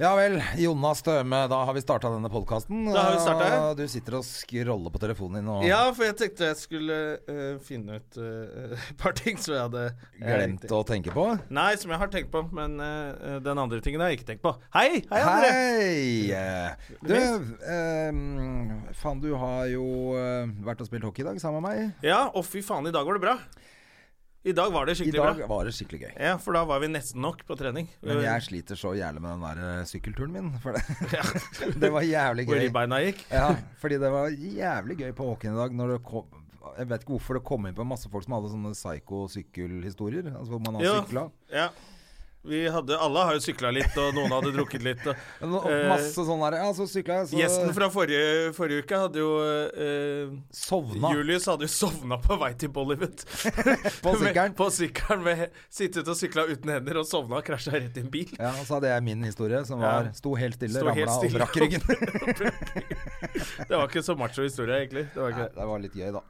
Ja vel, Jonna Støme, da har vi starta denne podkasten. Da har vi startet. Du sitter og scroller på telefonen din og Ja, for jeg tenkte jeg skulle eh, finne ut eh, et par ting som jeg hadde eh, glemt å tenke på. Nei, som jeg har tenkt på, men eh, den andre tingen har jeg ikke tenkt på. Hei! Hei, André! Hei! Du, ehm, faen, du har jo eh, vært og spilt hockey i dag sammen med meg. Ja, og fy faen, i dag var det bra. I dag var det I skikkelig dag bra. var det skikkelig gøy. Ja, for da var vi nesten nok på trening. Men Eh, jeg sliter så jævlig med den der eh, sykkelturen min. For det, det var jævlig Hvor gøy. ribbeina gikk. Ja, fordi det var jævlig gøy på hockeyen i dag når det kom jeg vet ikke hvorfor det kom inn på masse folk som hadde sånne psycho-sykkelhistorier. Altså hvor man har Ja. sykla. Ja. Vi hadde, alle har jo sykla litt, og noen hadde drukket litt. Og, Men Og eh, masse sånn der Ja, så sykla jeg, så Gjesten fra forrige, forrige uke hadde jo eh, sovna. Julius hadde jo sovna på vei til Bollywood. På sykkelen. Med, på sykkelen med sittet og sykla uten hender og sovna og krasja rett i en bil. Ja, og så hadde jeg min historie, som Ja. var sto helt stille, Sto helt ramla og stille brakk og- ryggen. Det var ikke så macho historie, egentlig. Det var Nei, ikke det. det var litt gøy, da.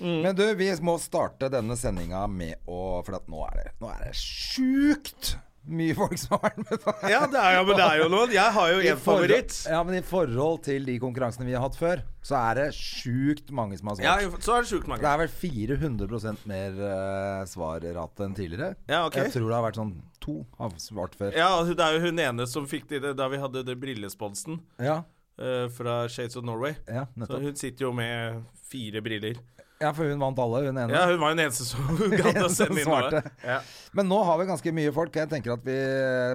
Mm. Men du, vi må starte denne sendinga med å For at nå er det, nå er det sjukt mye folk som har vært med på Ja, det er, ja, men det er jo noen. Jeg har jo I én forhold- favoritt. Ja, men i forhold til de konkurransene vi har hatt før, så er det sjukt mange som har Ja, svart. så er det sjukt Det mange. er vel 400 mer eh, svarrate enn tidligere. Ja, ok. Jeg tror det har vært sånn to har svart før. Ja, og det er jo hun ene som fikk det i det- da vi hadde det brillesponsen Ja, eh, fra Shades of Norway. ja Så nettopp. hun sitter jo med fire briller. Ja, for hun vant alle, hun ene. Ja, hun var jo den eneste som gadd å som sende inn noe. svarte. Ja. Men nå har vi ganske mye folk. Jeg tenker at vi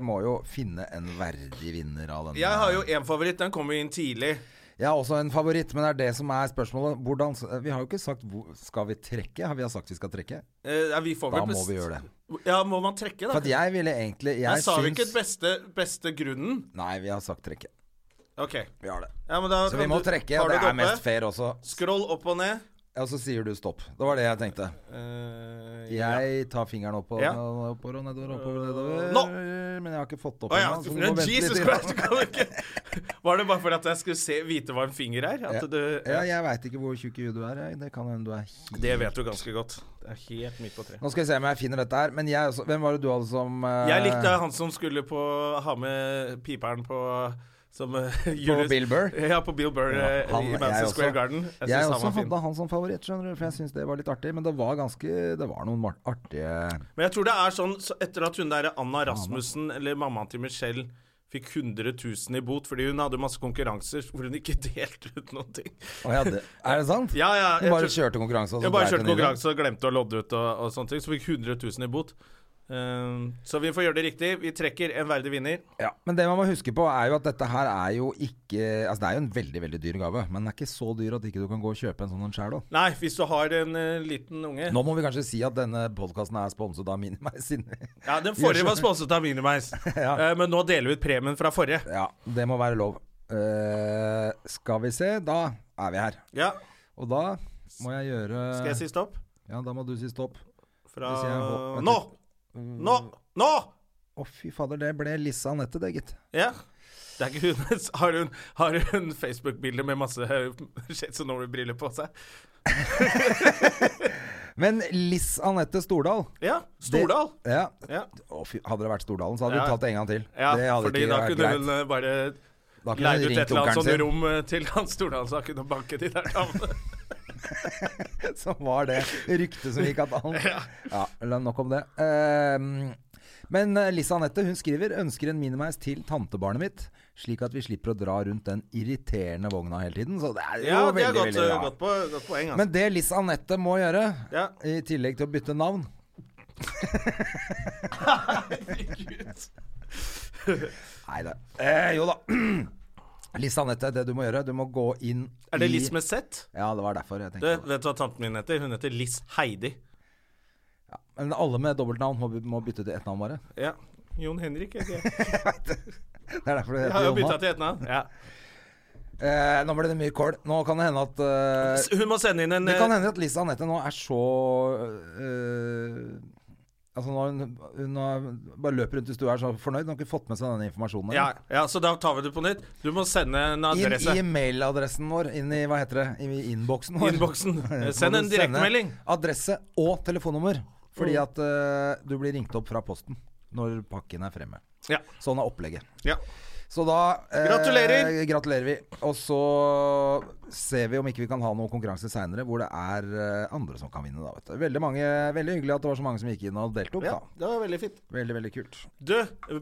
må jo finne en verdig vinner av denne. Jeg har jo én favoritt. Den kommer jo inn tidlig. Jeg har også en favoritt, men det er det som er spørsmålet. Hvordan, vi har jo ikke sagt hvor, Skal vi trekke? Har vi har sagt vi skal trekke? Eh, ja, vi får Da vel må best- vi gjøre det. Ja, må man trekke, da? For at jeg ville egentlig Jeg, Jeg sa vi ikke syns- beste, beste grunnen? Nei, vi har sagt trekke. Ok. Vi har det. Ja, men da kan Så vi må du- trekke. har du Det er oppe? mest fair også. Scroll opp og ned. Og så sier du stopp. Det var det jeg tenkte. Eh, Jeg tar fingeren oppover, Ja. Øh, oppover og nedover, oppover og nedover. Nå! Men jeg har ikke fått opp Å ja. ennå, så vi må vente Jesus litt. Christ, du kan jo ikke Var det bare for at jeg skulle se, vite hva en finger er? At du Ja, jeg veit ikke hvor tjukk i huet du er. jeg. Det kan hende du er helt Det vet du ganske godt. Det er helt midt på treet. Nå skal jeg se om jeg finner dette her. Men jeg også, hvem var det du hadde som eh, Jeg likte han som skulle på ha med piperen på som eh, Julius- Bill Burr? Ja, på Bill Burr Ja, eh, han- i jeg Manchester også. Square Garden. synes Jeg, han også var fin. hadde han som favoritt, skjønner du, for jeg syns det var litt artig. Men det var ganske Det var noen mar- artige Men jeg tror det er sånn så Etter at hun der Anna Rasmussen, eller mammaen til Michelle, fikk 100 000 i bot fordi hun hadde masse konkurranser hvor hun ikke delte ut noen ting. Å, ja, det, Er det sant? Ja, ja. Du bare tror- kjørte konkurranse? og så jeg bare dreit kjørte hun i det. konkurranse og glemte å lodde ut og, og sånne ting. Så fikk 100 000 i bot. Ehm, så vi får gjøre det riktig. Vi trekker en verdig vinner. Ja, Men det man må huske på, er jo at dette her er jo ikke Altså, det er jo en veldig, veldig dyr gave, men den er ikke så dyr at ikke du kan gå og kjøpe en sånn en sjæl òg. Nei, hvis du har en eh, liten unge Nå må vi kanskje si at denne podkasten er sponset av Minimeg Sinne. Ja, Den forrige var sponset av Minimeis, Ja. Eh, men nå deler vi ut premien fra forrige. Ja, det må være lov. Eh, skal vi se, da er vi her. Ja, Og da må jeg gjøre Skal jeg si stopp? Ja, da må du si stopp. Fra Hvis jeg Mm. hå- Nå! Nå! Nå! Å, fy fader, det ble Lisse Anette, det, gitt. Ja. Det er ikke hun. Har hun, har hun Facebook-bilde med masse Shades of Norway-briller på seg? Men Liss Anette Stordal Ja. Stordal. Ja. Ja, Å, fy, hadde det vært Stordalen, så hadde du Ja. tatt det en gang til. ja det hadde fordi da kunne hun eh, bare Da kunne leid hun ut et ringt eller annet onkelen sånt sin, rom eh, til han Stordal, så han kunne banke de der damene. så var det ryktet som gikk at han Ja, la nok om det. Ehm, men eh, Liss Anette hun skriver 'ønsker en minimeis til tantebarnet mitt', slik at vi slipper å dra rundt den irriterende vogna hele tiden. Så det er jo Ja, det er veldig, godt, veldig eh, bra. godt, på, godt poeng, altså. Men det Liss Anette må gjøre, Ja. i tillegg til å bytte navn Nei da. Eh, jo da. Liss Anette, det du må gjøre, du må gå inn Er det i- Liss med Z? Ja, det var derfor jeg Du, tenkte på det. vet du hva tanten min heter? Hun heter Liss Heidi. Men alle med dobbeltnavn må, by- må bytte til ett navn, bare. Ja. Jon Henrik heter jeg. Det er derfor du Jeg har heter jo bytta Jonna. til et navn. Ja. Eh, nå ble det mye kål. Nå kan det hende at eh, S- Hun må sende inn en Det kan eh, hende at Lisa Anette nå er så øh, Altså nå har hun, hun har bare løper rundt i stua og er så fornøyd. Hun har ikke fått med seg denne informasjonen. eh, ja, ja, så da tar vi det på nytt. Du må sende en inn adresse. i mailadressen vår. Inn i hva heter det? I innboksen vår. Innboksen. Må Send du en sende direktemelding. Mm. Adresse og telefonnummer. Fordi at øh, du blir ringt opp fra posten når pakken er fremme. Ja. Sånn er opplegget. ja. Så da eh, Gratulerer! gratulerer vi. Og så ser vi om ikke vi kan ha noen konkurranse seinere hvor det er eh, andre som kan vinne, da, vet du. Veldig, mange, veldig hyggelig at det var så mange som gikk inn og deltok, ja. da. Det var veldig fint. Veldig, veldig kult. Du,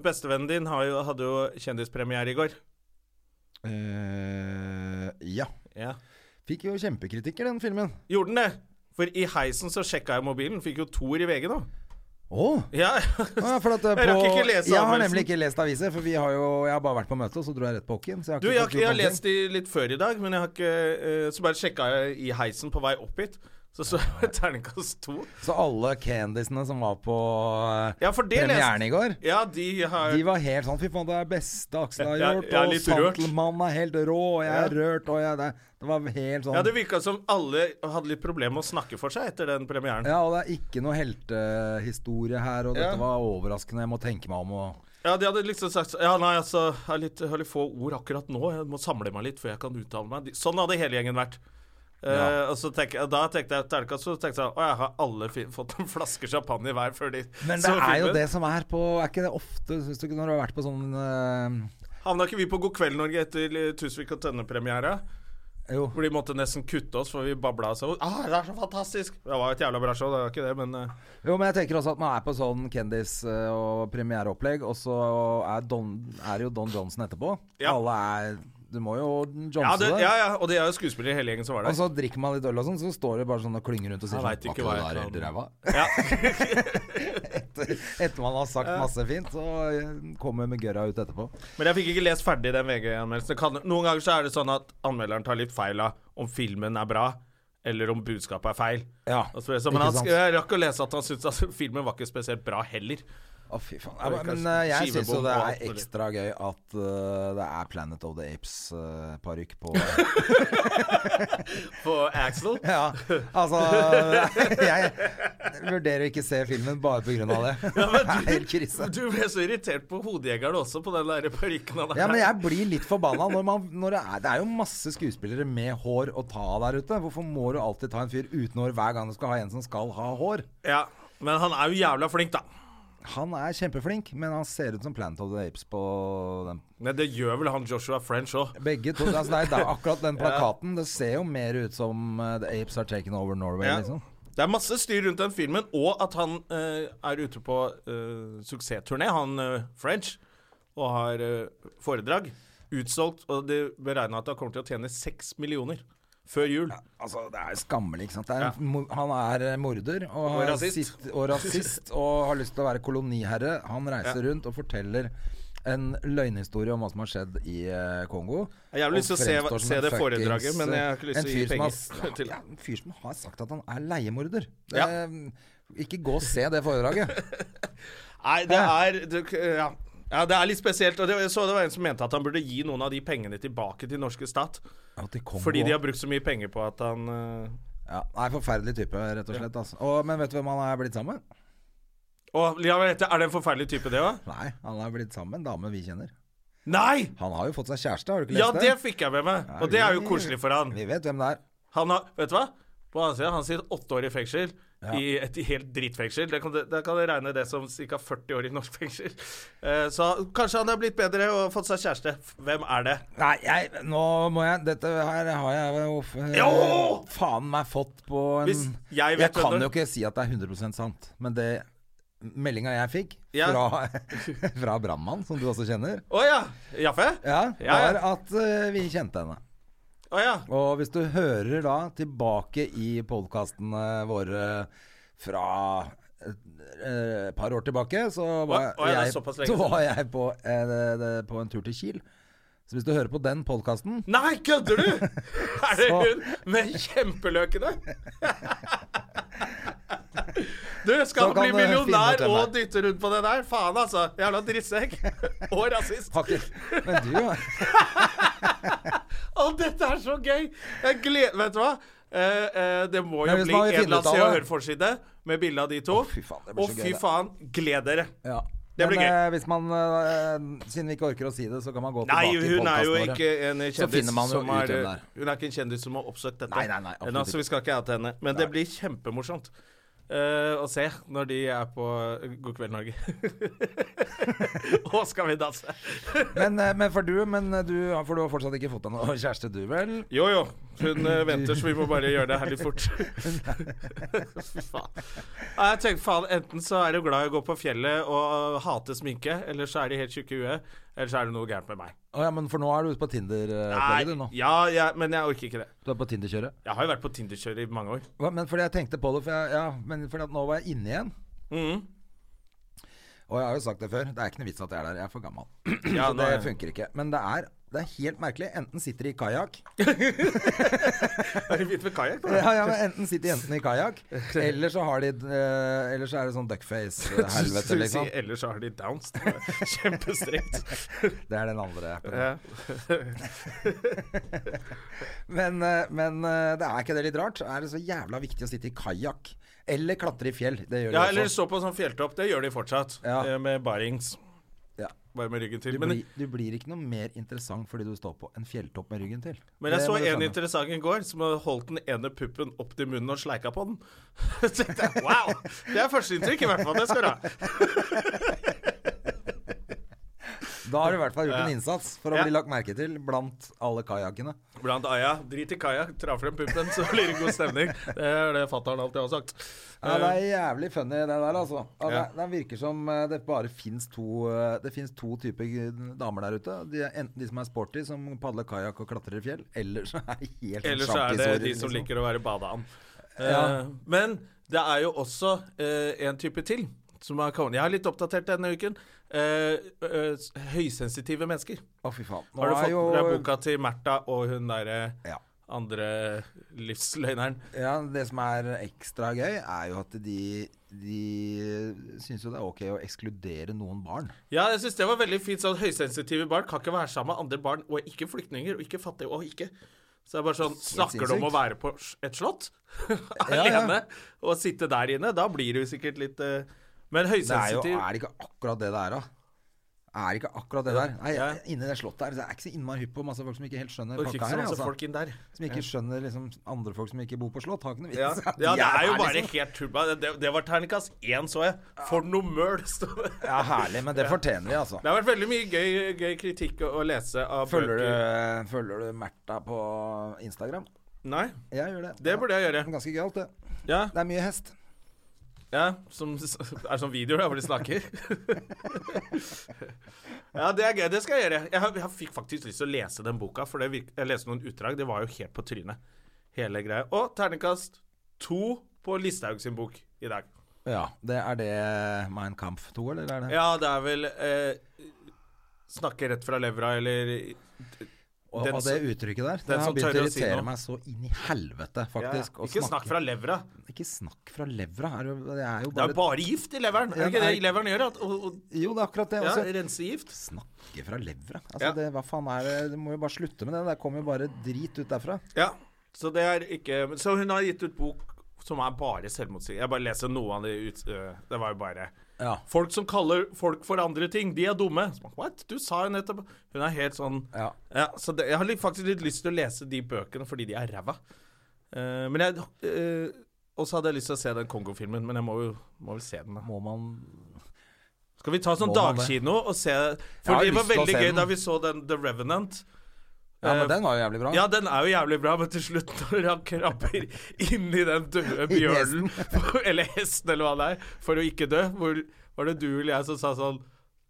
bestevennen din har jo, hadde jo kjendispremiere i går. Eh, ja. Ja. Fikk jo kjempekritikker, den filmen. Gjorde den det? For i heisen så sjekka jeg mobilen. Fikk jo toer i VG nå. Å! Ja, Ah, Ja, for at eh, Jeg rakk på- ikke lese Jeg har anmeldelsen. nemlig ikke lest aviser, for vi har jo, jeg har bare vært på møte, og så dro jeg rett på hockeyen. Så jeg har Du, jeg, ikke har fått ikke- jeg har gjort noen lest ting. de litt før i dag, men jeg har ikke eh, Så bare sjekka jeg i heisen på vei opp hit. Så så Ah. jeg terningkast to. Så alle candisene som var på eh, Ja, for det premieren leste i går Ja, de har De var helt sånn Fy faen, det er beste Aksel har Ja, gjort. jeg er Og litt rørt. Santelmann er helt rå, og jeg er rørt, og jeg det, det var helt sånn Ja, det virka som alle hadde litt problemer med å snakke for seg etter den premieren. Ja, og det er ikke noe heltehistorie her, og Ja. dette var overraskende. Jeg må tenke meg om og Ja, de hadde liksom sagt så- Ja, nei, altså, jeg har litt, jeg har litt få ord akkurat nå. Jeg må samle meg litt før jeg kan uttale meg. De, sånn hadde hele gjengen vært. Eh, og så tenk, da tenkte jeg terningkast to, så tenkte jeg å, jeg har alle fi, fått en flaske champagne hver før de Men det så er jo filmen. det som er på Er ikke det ofte, syns du ikke, når du har vært på sånn eh, Havna ikke vi på God kveld, Norge etter eh, Tusvik og Tønne-premiera? Jo. Hvor de måtte nesten kutte oss, for vi babla oss ut. Ah, det er så fantastisk! Det var et jævla bra show, det var ikke det, men eh, Jo, men jeg tenker også at man er på sånn kendis- og premiereopplegg, og så er, Don, er det jo Don Johnson etterpå. Ja. Alle er Du må jo ja, johnse det, det. ja, ja, og de er jo skuespillere, hele gjengen som var Og der. så drikker man litt øl og sånn, så står det bare sånn og klynger rundt og sier Jeg sånn veit ikke hva jeg helt kan ræva. ja. Etter man har sagt masse fint, så eh, kommer Mugøra ut etterpå. Men jeg fikk ikke lest ferdig den VG-anmeldelsen. Det kan- Noen ganger så er det sånn at anmelderen tar litt feil av om filmen er bra, eller om budskapet er feil. Ja, Og så er det sånn, men ikke han, sant. sk- jeg rakk å lese at han syntes at filmen var ikke spesielt bra heller. Å, fy faen. Det er Ja, men kanskje eh, jeg syns jo skivebom det og alt er mulig. ekstra gøy at eh, det er Planet of the Apes-parykk på På Axel? Ja, altså Jeg vurderer å ikke se filmen bare på grunn av det. Det er helt krise. Du ble så irritert på hodejegeren også, på den der parykken han har. Ja, men jeg blir litt forbanna når man når det, er, det er jo masse skuespillere med hår å ta av der ute. Hvorfor må du alltid ta en fyr uten hår hver gang du skal ha en som skal ha hår? Ja, men han er jo jævla flink, da. Han er kjempeflink, men han ser ut som Planet of the Apes på den. Men det gjør vel han Joshua French òg. Begge to. Altså, det er da, akkurat den plakaten. Det ser jo mer ut som eh, The Apes Are Taken Over Norway, Ja. liksom. Det er masse styr rundt den filmen, og at han eh, er ute på eh, suksessturné, han eh, French, og har eh, foredrag. Utsolgt, og det beregna at han kommer til å tjene seks millioner før jul. Altså, det er skammelig, ikke sant. Det er, Ja. en mo- Han er eh, morder og, har rasist. sitt- og rasist og har lyst til å være koloniherre. Han reiser rundt og forteller en løgnhistorie om hva som har skjedd i eh, Kongo. Jeg har Og jævlig lyst til å se- fremstår som se en det fuckings, eh, foredraget, men jeg har ikke lyst en til å gi fyr som penger har- til- Ja, en fyr som har sagt at han er leiemorder. Det, Ja. Ikke gå og se det foredraget. Nei, det er det, ja. ja, det er litt spesielt. Og det, jeg så det var en som mente at han burde gi noen av de pengene tilbake til norske stat. Ja, til Kongo Fordi de også. har brukt så mye penger på at han eh, Ja, nei, forferdelig type, rett og slett. Altså. Og, men vet du hvem han er blitt sammen med? Å, ja, vet du, er det en forferdelig type, det òg? Nei, han er blitt sammen med en dame vi kjenner. Nei! Han har jo fått seg kjæreste, har du ikke Ja, lest det? det fikk jeg med meg. Og det er jo koselig for han. Vi vet hvem det er. Han har, vet du hva? På den andre siden, han sitter åtte år i fengsel. I et helt drittfengsel. Da kan det- da kan du regne det som ca. 40 år i norsk fengsel. Eh, så kanskje han er blitt bedre og fått seg kjæreste. Hvem er det? Nei, jeg, nå må jeg Dette her har jeg jo f- Jo! faen meg fått på en Hvis jeg vet hvem kan det- jo ikke si at det er 100 sant, men det meldinga jeg fikk Ja. fra, fra Brannmann, som du også kjenner, Å ja! Jaffe? ja, Ja, ja. var at eh, vi kjente henne. Å ja. Og hvis du hører da tilbake i podkastene våre fra et eh, par år tilbake, så var, Oi, oi, det er jeg, såpass lenge så siden. var jeg på, eh, det- det- på en tur til Kiel. Så hvis du hører på den podkasten Nei, kødder du?! Er det Så- hun med kjempeløkene? Du skal Så kan bli du finne ut millionær hvem og det dytte rundt på det der. Faen, altså. Jævla drittsekk. Og rasist. Har ikke- Men du, ja. Å, dette er så gøy! Jeg gleder Vet du hva? Eh, eh, det må jo Men hvis bli man vil en La finne ut oss av se og det. høre-forside med bilde av de to. fy faen, det blir Å, så gøy, fy det. faen. Gled dere. ja. Det blir Men, gøy. eh, hvis man, eh, siden vi ikke orker å si det, så kan man gå Nei, tilbake i hun er jo podkasten ikke en kjendis finner man jo som ut er hvem det er. Hun er ikke en kjendis som har oppsøkt dette. Nei, nei, nei, absolutt Eller, altså, vi skal ikke oute henne. Men det blir kjempemorsomt eh, å se når de er på eh, God kveld, Norge. og skal vi danse? Men, eh, men for du, men eh, du, ja, for du har fortsatt ikke fått deg noe kjæreste, du vel? Jo, jo. Hun eh, venter, så vi må bare gjøre det her litt fort. Fy faen. Nei, Jeg tenkte, faen, Enten så er du glad i å gå på fjellet og hate sminke, eller så er de helt tjukke i huet, eller så er det noe gærent med meg. Å ja, men for nå er du ute på Tinder, eh, opplegget du nå. ja, ja, men jeg orker ikke det. Du er på Tinder-kjøret. Jeg har jo vært på Tinder-kjøret i mange år. Hva, Men fordi jeg tenkte på det, for jeg, ja, men fordi at nå var jeg inne igjen. Mhm. Og jeg har jo sagt det før, det er ikke noe vits at jeg er der, jeg er for gammel. Ja, Så nå det er- funker ikke. Men det er, det er helt merkelig. Enten sitter de i kajakk Er det fint med kajakk, da? ja, ja, men Enten sitter jentene i kajakk, eller så har de eh, Eller så er det sånn duckface-helvete, Skulle liksom. Si, ellers så har de downs. Det var Kjempestrengt. Det er den andre. Ja. Men, eh, men eh, det er ikke det litt rart? Er det så jævla viktig å sitte i kajakk? Eller klatre i fjell. Det gjør de ja, eller også. så på sånn fjelltopp. Det gjør de fortsatt. Ja. eh, Med barings. Ja. Bare med ryggen Du, til. Men, blir, du blir ikke noe mer interessant fordi du står på en fjelltopp med ryggen til. men jeg Det så må du en skjønne. interessant i går som hadde holdt den ene puppen opp til munnen og sleika på den. Så tenkte jeg, wow! Det er førsteinntrykk, i hvert fall. Det skal du ha. Da har du i hvert fall gjort en innsats for å Ja. bli lagt merke til blant alle kajakkene. Blant Aya. Drit i kajakk, dra frem puppen, så blir det god stemning. Det er det fatter'n alltid har sagt. Ja, det er jævlig funny, det der, altså. Ja, Ja. det, det virker som eh, det bare fins to eh, Det finnes to typer g- damer der ute. De er enten de som er sporty, som padler kajakk og klatrer i fjell, eller så er de helt Eller så er det sjampisorer, de som liksom. liker å være badeand. Eh, Ja. men det er jo også eh, en type til som har kommet. Jeg har litt oppdatert denne uken. Eh, eh, s- høysensitive mennesker. Å, fy faen. Nå Har du er fått jo- med deg boka til Märtha og hun derre Ja. andre livsløgneren? Ja, det som er ekstra gøy, er jo at de, de syns jo det er ok å ekskludere noen barn. Ja, jeg syns det var veldig fint. Sånn høysensitive barn kan ikke være sammen med andre barn, og ikke flyktninger, og ikke fattige, og ikke Så det er bare sånn Snakker du om å sinnssykt. være på s- et slott Ja, alene ja. og sitte der inne? Da blir du sikkert litt eh, Men Det er jo høysensitiv Er det ikke akkurat det det er, da? Er det ikke akkurat det der? Nei, Ja. inni det slottet her, det er ikke så innmari hypp på masse folk som ikke helt skjønner Orker pakka ikke så her. masse Altså. sånn folk inn der. Som ikke skjønner liksom andre folk som ikke bor på slott, har ikke noe vits. Ja, at de ja det er jo her, bare liksom. helt tuba. Det, det var terningkast én, så jeg. For noe møl! sto det. Ja, herlig. Men det fortjener de, altså. Det har vært veldig mye gøy, gøy kritikk å, å lese av Følger du, bøker. følger du Märtha på Instagram? Nei, Jeg gjør det. det burde jeg gjøre. Ganske gøyalt, det. Ja, Det er mye hest. ja som, Er sånn video da, hvor de snakker. Ja, det er gøy. Det skal jeg gjøre. Jeg, har- jeg fikk faktisk lyst til å lese den boka, for det virk, jeg leste noen utdrag. Det var jo helt på trynet, hele greia. Og terningkast to på Listhaug sin bok i dag. Ja. Det er det Mein Kampf 2, eller er det Ja, det er vel eh, Snakke rett fra levra, eller Og, Den og det uttrykket der, det den har som begynt tør å å si irritere noe. meg så inn i helvete, faktisk. Ikke snakk fra levra. Ikke snakk fra levra. Er jo- Det er jo Det er bare bare gift i leveren. Er det ikke Ja, Altså, det er- leveren gjør? At, og, og, Jo, det er akkurat det. ja, Også. rensegift. Snakke fra levra? Altså, Ja. det, hva faen er det? Du må jo bare slutte med det. Det kommer jo bare drit ut derfra. Ja. Så det er ikke Så hun har gitt ut bok som er bare selvmotsigende. Jeg bare leser noe av det ut øh, Det var jo bare Ja. Folk som kaller folk for andre ting, de er dumme. Så, What? Du sa jo nettopp Hun er helt sånn Ja. så det, jeg har litt, faktisk litt lyst til å lese de bøkene fordi de er ræva. Eh, men jeg eh, Og så hadde jeg lyst til å se den Kongo-filmen, men jeg må jo må vel se den, da. Må man Skal vi ta sånn Må man det? dagkino og se Jeg For har det var lyst til å veldig se gøy den. da vi så den The Revenant. Ja, Eh, men den var jo jævlig bra. Ja, den er jo jævlig bra, men til slutt når han krabber inni den døde I bjørnen, eller hesten eller hva det er, for å ikke dø, hvor var det du eller jeg som sa sånn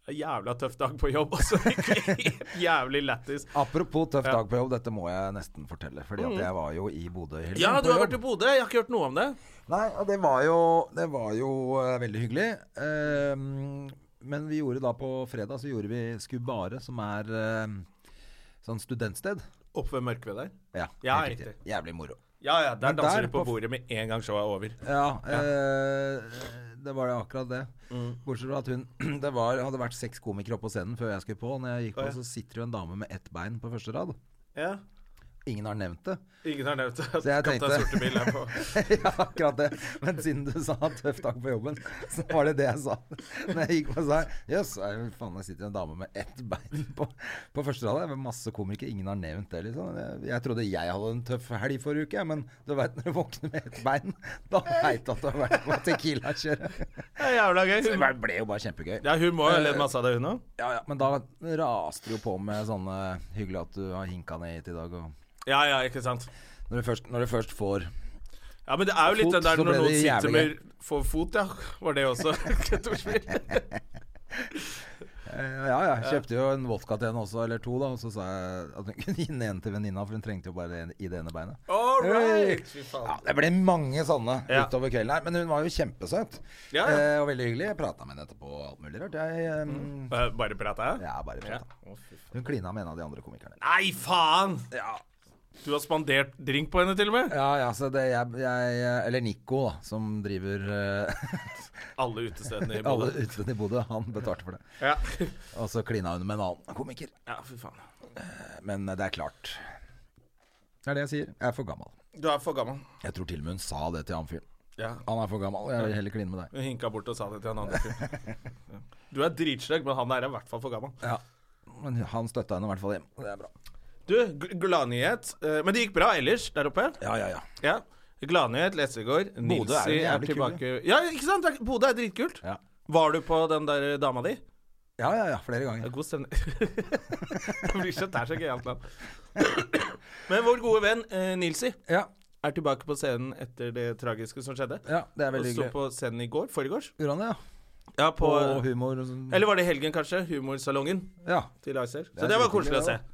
Jævla tøff dag på jobb, og så gikk vi helt jævlig lættis. Apropos tøff dag på jobb, dette må jeg nesten fortelle. Fordi at jeg var jo i Bodø i helgen. Mm. Ja, på du har jobb. vært i Bodø, jeg har ikke hørt noe om det. Nei, og det var jo, det var jo eh, veldig hyggelig. Ehm, men vi gjorde da på fredag så gjorde vi Skubare, som er eh, sånn studentsted. Oppe ved Mørkved der. Ja, Ja, helt riktig. riktig. Jævlig moro. Ja, ja, der Men danser der de på på- bordet med en gang showet er over. Ja, eh, det var det akkurat det. Mm. Bortsett fra at hun Det var, hadde vært seks komikere oppe på scenen før jeg skulle på. Og når jeg gikk på, Å, ja. så sitter jo en dame med ett bein på første rad. Ja. Ingen har nevnt det. Ingen har nevnt at Så jeg Kaptein tenkte- Sortebil er på. ja, akkurat det. Men siden du sa tøff dag på jobben, så var det det jeg sa. Når jeg gikk på og sa jøss, yes, faen, jeg sitter en dame med ett bein på, på første rad. Det er Masse komikere, ingen har nevnt det, liksom. Jeg, jeg trodde jeg hadde en tøff helg forrige uke, men du veit når du våkner med ett bein, da veit du at du har vært på Tequila-kjøret. Det er jævla gøy. Det Hun, bare- ble jo bare kjempegøy. ja, hun må jo ha ledd masse av det, hun òg. Ja, ja. Men da raste det jo på med sånne 'hyggelig at du har hinka ned hit i dag', og Ja, ja, ikke sant. Når du først, når du først får Ja, men det er jo litt Fot, den der så når ble noen det sitter jævlig med For fot, ja. Var det også et ordspill? Eh, Ja, ja. Kjøpte jo en vodka til henne også, eller to, da. Og så sa jeg at hun kunne gi den ene til venninna, for hun trengte jo bare det- i det ene beinet. All Hey. right! Fy Ja, faen. Det ble mange sånne Ja. utover kvelden her. Men hun var jo kjempesøt. Ja, ja. Eh, og veldig hyggelig. Jeg prata med henne etterpå og alt mulig rart. Jeg, eh, Eh, Bare prata jeg? ja, bare prata. Å, fy faen. Hun klina med en av de andre komikerne. Nei, faen! Du har spandert drink på henne, til og med? Ja, ja, så det jeg, jeg Eller Nico, da, som driver eh, Alle utestedene i alle Bodø. utestedene i Bodø. Han betalte for det. Ja. Og så klina hun med en annen komiker. ja, fy faen. Men det er klart. Det er det jeg sier. Jeg er for gammel. Du er for gammel. Jeg tror til og med hun sa det til han fyren. Ja. Han er for gammel. Jeg vil heller kline med deg. Hun hinka bort og sa det til en annen fyr. Ja. Du er dritsløk, men han er i hvert fall for gammel. Ja. Men han støtta henne i hvert fall hjem. Det er bra. Du, gl- gladnyhet. Eh, Men det gikk bra ellers der oppe? Ja, ja, ja. Ja. Gladnyhet leste i går. Bodø er Nilsi jo er jævlig tilbake Ja, ikke sant? Det er- Bodø er dritkult. Ja, Var du på den der dama di? ja, ja. ja flere Det er ganger. god stemning. det blir så, det er så gøyalt land. Men vår gode venn eh, Nilsi Ja, er tilbake på scenen etter det tragiske som skjedde. ja det er Og veldig sto hyggelig. på scenen i går, foregårs. Gjorde han det, ja? Ja, på, Og humor og sånn. Eller var det i helgen, kanskje? Humorsalongen Ja. til Icer. er Så det var drithyggelig, koselig å se. det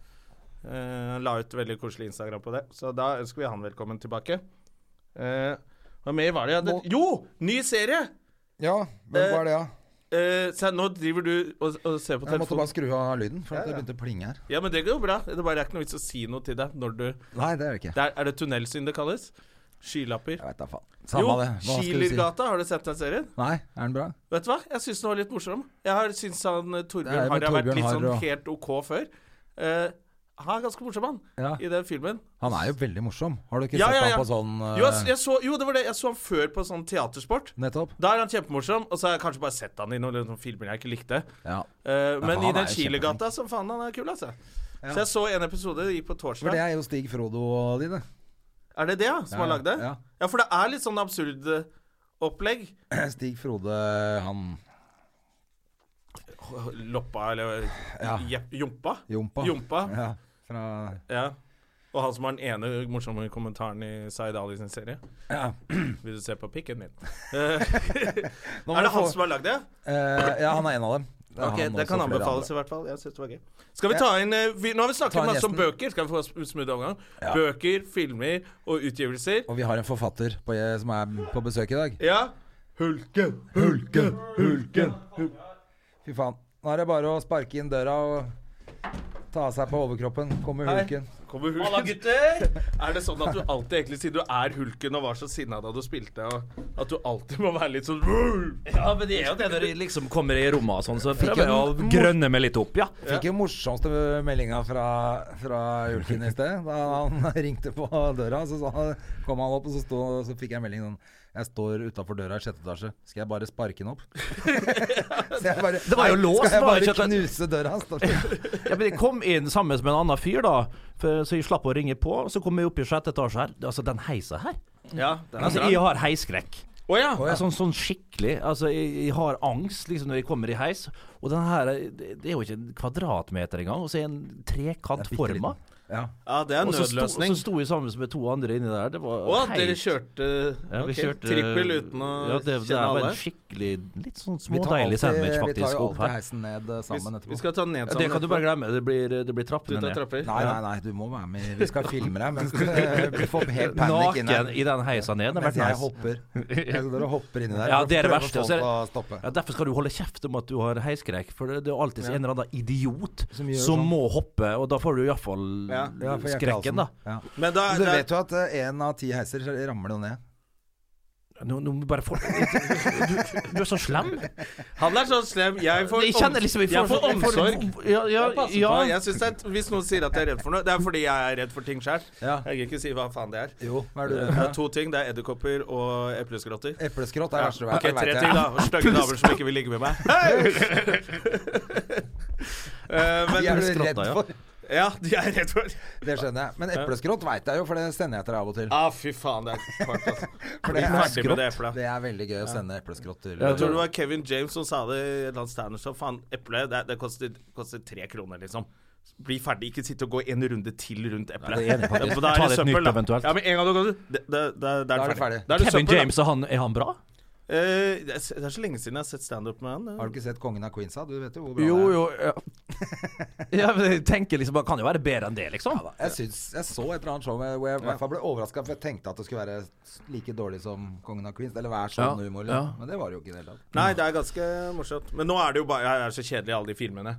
Eh, Han la ut veldig koselig Instagram på det, så da ønsker vi han velkommen tilbake. Eh, hva mer var det? Jeg hadde? Jo! Ny serie! ja, men hva er det, da? Eh, så nå driver du og, og ser på Jeg måtte telefonen. bare skru av lyden, for at det begynte å plinge her. Ja, men det går jo bra. Det er bare ikke noe vits å si noe til deg når du Nei, det er det ikke. Der er det tunnelsyn det kalles. Skylapper. Jeg veit da faen. Jo, Samme det. Hva skal du si? Schielergata, har du sett den serien? Nei, er den bra? Vet du hva? Jeg syns den var litt morsom. Jeg har syns han eh, Det er Torbjørn jo Harry har vært Torbjørn litt sånn Harry og- helt OK før. Eh, han er ganske morsom, han, Ja. i den filmen. Han er jo veldig morsom. Har du ikke Ja, sett ja, ja. han på sånn eh, Jo, jeg, jeg så, jo, det var det. Jeg så han før på sånn teatersport. Nettopp? Da er han kjempemorsom, og så har jeg kanskje bare sett han i noen sånne filmer jeg ikke likte. Ja. Eh, men for i han den er jo Chile-gata, som faen, han er kul, altså. Så jeg så en episode, det gikk på torsdag. For det er jo Stig Frodo og de, det. Er det det, ja? Som Ja, har lagd det? Ja. ja. for det er litt sånn absurd eh, opplegg. Stig Frode, han Loppa, eller Ja. Jep- Jompa? Jompa. Jompa, ja. Ja, fra Og han som har den ene morsomme kommentaren i Zaid Ali sin serie. Ja. Vil du se på pikken min? Eh, er det han som har lagd det? Eh, ja, han er en av dem. Det er Ok, han Det også kan flere anbefales andre. i hvert fall. Jeg synes det var gøy. Skal vi ta inn eh, vi, Nå har vi Ta snakket inn masse om gjesten. bøker. Skal vi få sm- smooth overgang? Ja. Bøker, filmer og utgivelser. Og vi har en forfatter på, eh, som er på besøk i dag. Ja. Hulken, hulken, hulken. Fy faen. Nå er det bare å sparke inn døra og ta av seg på overkroppen. Kommer Hei. hulken. Kommer hulken. Halla, gutter! Er det sånn at du alltid egentlig sier du er hulken og var så sinna da du spilte, og at du alltid må være litt sånn Ja, men det er jo det når de liksom kommer i rommet og sånn, så prøver jeg å grønne meg litt opp, ja. Fikk jo morsomste meldinga fra, fra hulken i sted. Da han ringte på døra, så sa- kom han opp, og så, sto, så fikk jeg en melding sånn Jeg står utafor døra i sjette etasje. Skal jeg bare sparke den opp? så jeg bare var jo Nei, låst, Skal jeg var det bare ikke at- knuse døra? står det. ja men jeg kom inn sammen med en annen fyr, da, for, så jeg slapp å ringe på. Så kom jeg opp i sjette etasje her. Altså, den heisa her Ja, den er Altså, bra. jeg har heisskrekk. Å ja. Ja, Sånn, sånn skikkelig. Altså, jeg, jeg har angst liksom når jeg kommer i heis. Og den her Det det er jo ikke en kvadratmeter engang, og så er en trekant bitte forma. Ja. ja, det er Og så sto, og nødløsning. så sto jeg sammen med to andre inni der. Det var Å, dere helt- kjørte, Ja, vi ok, kjørte trippel uten å ja, det, det kjenne er bare alle? en skikkelig Litt sånn Vi tar smådeilig sandwich, alltid- Vi tar faktisk, jo opp alltid her. heisen ned eh, Vi, sammen etterpå. vi skal ta den ned Ja, sammen. det kan du bare glemme. Det blir, det blir Du trappene tar ned. trapper? Nei, nei, nei, du må være med. Vi skal filme deg mens du du får helt panikk inn Naken her. i den heisa ned. Det har Mens jeg vært nice. hopper. Jeg står og hopper inni der. Ja, for å det er altså. det prøve å verste, få og så er det- den til å stoppe. Ja, derfor skal du holde kjeft om at du har heiskrekk, for det, det er jo alltid en eller annen idiot Som som, gjør sånn. må hoppe, og da får du iallfall Ja, Ja. Ja, for Jack skrekken, da. Carlsen. Ja. Men da, Men Du da vet jo at én av ti heiser ramler jo ned. Nå, nå må vi bare få du, du er så slem. Han er sånn slem. Jeg får, Jeg kjenner liksom jeg får jeg får- omsorg. Ja, ja, Jeg passer ja. på. Jeg synes det er, hvis noen sier at jeg er redd for noe, det er fordi jeg er redd for ting sjøl. Ja. Jeg kan ikke si hva faen det er. Jo, hva er du Det redd er for? to ting. Det er edderkopper og epleskrotter. Epleskrott er det verste du vet. Ok, det vet tre jeg. ting, da. Stygge damer som ikke vil ligge med meg. Eh, De er men, du redd Epleskrotta, ja. for. ja, de er redd for Det skjønner jeg. Men epleskrott veit jeg jo, for det sender jeg til deg av og til. Ah, fy faen, det er kvart, altså. For Bli det er, ferdig med det eplet. det er veldig gøy å sende epleskrott til Ja, Jeg tror det var Kevin James som sa det i et eller annet standup. Faen, eple det, det koster, koster tre kroner, liksom. Bli ferdig, ikke sitte og gå en runde til rundt eplet. Ja, det er enig, faktisk. Da Ta er det litt søppel, da. nytt eventuelt. Ja, men en gang du går ut, det- det- det- Da er det ferdig. Da er det Kevin søppel, da. James, er han, er han bra? Eh, det er- det er så lenge siden jeg har sett standup med han. Har du ikke sett Kongen av Queens, da? Du vet jo hvor bra Jo, det er. jo. Ja. ja, men jeg tenker liksom Han kan jo være bedre enn det, liksom. Jeg, syns, jeg så et eller annet show med- hvor jeg i hvert fall ble overraska, for jeg tenkte at det skulle være like dårlig som Kongen av Queens. Eller hver sånn Ja, humor. ja. Men det var det jo ikke i det hele tatt. eh. Nei, det er ganske morsomt. Men nå er det jo bare Jeg er så kjedelig i alle de filmene.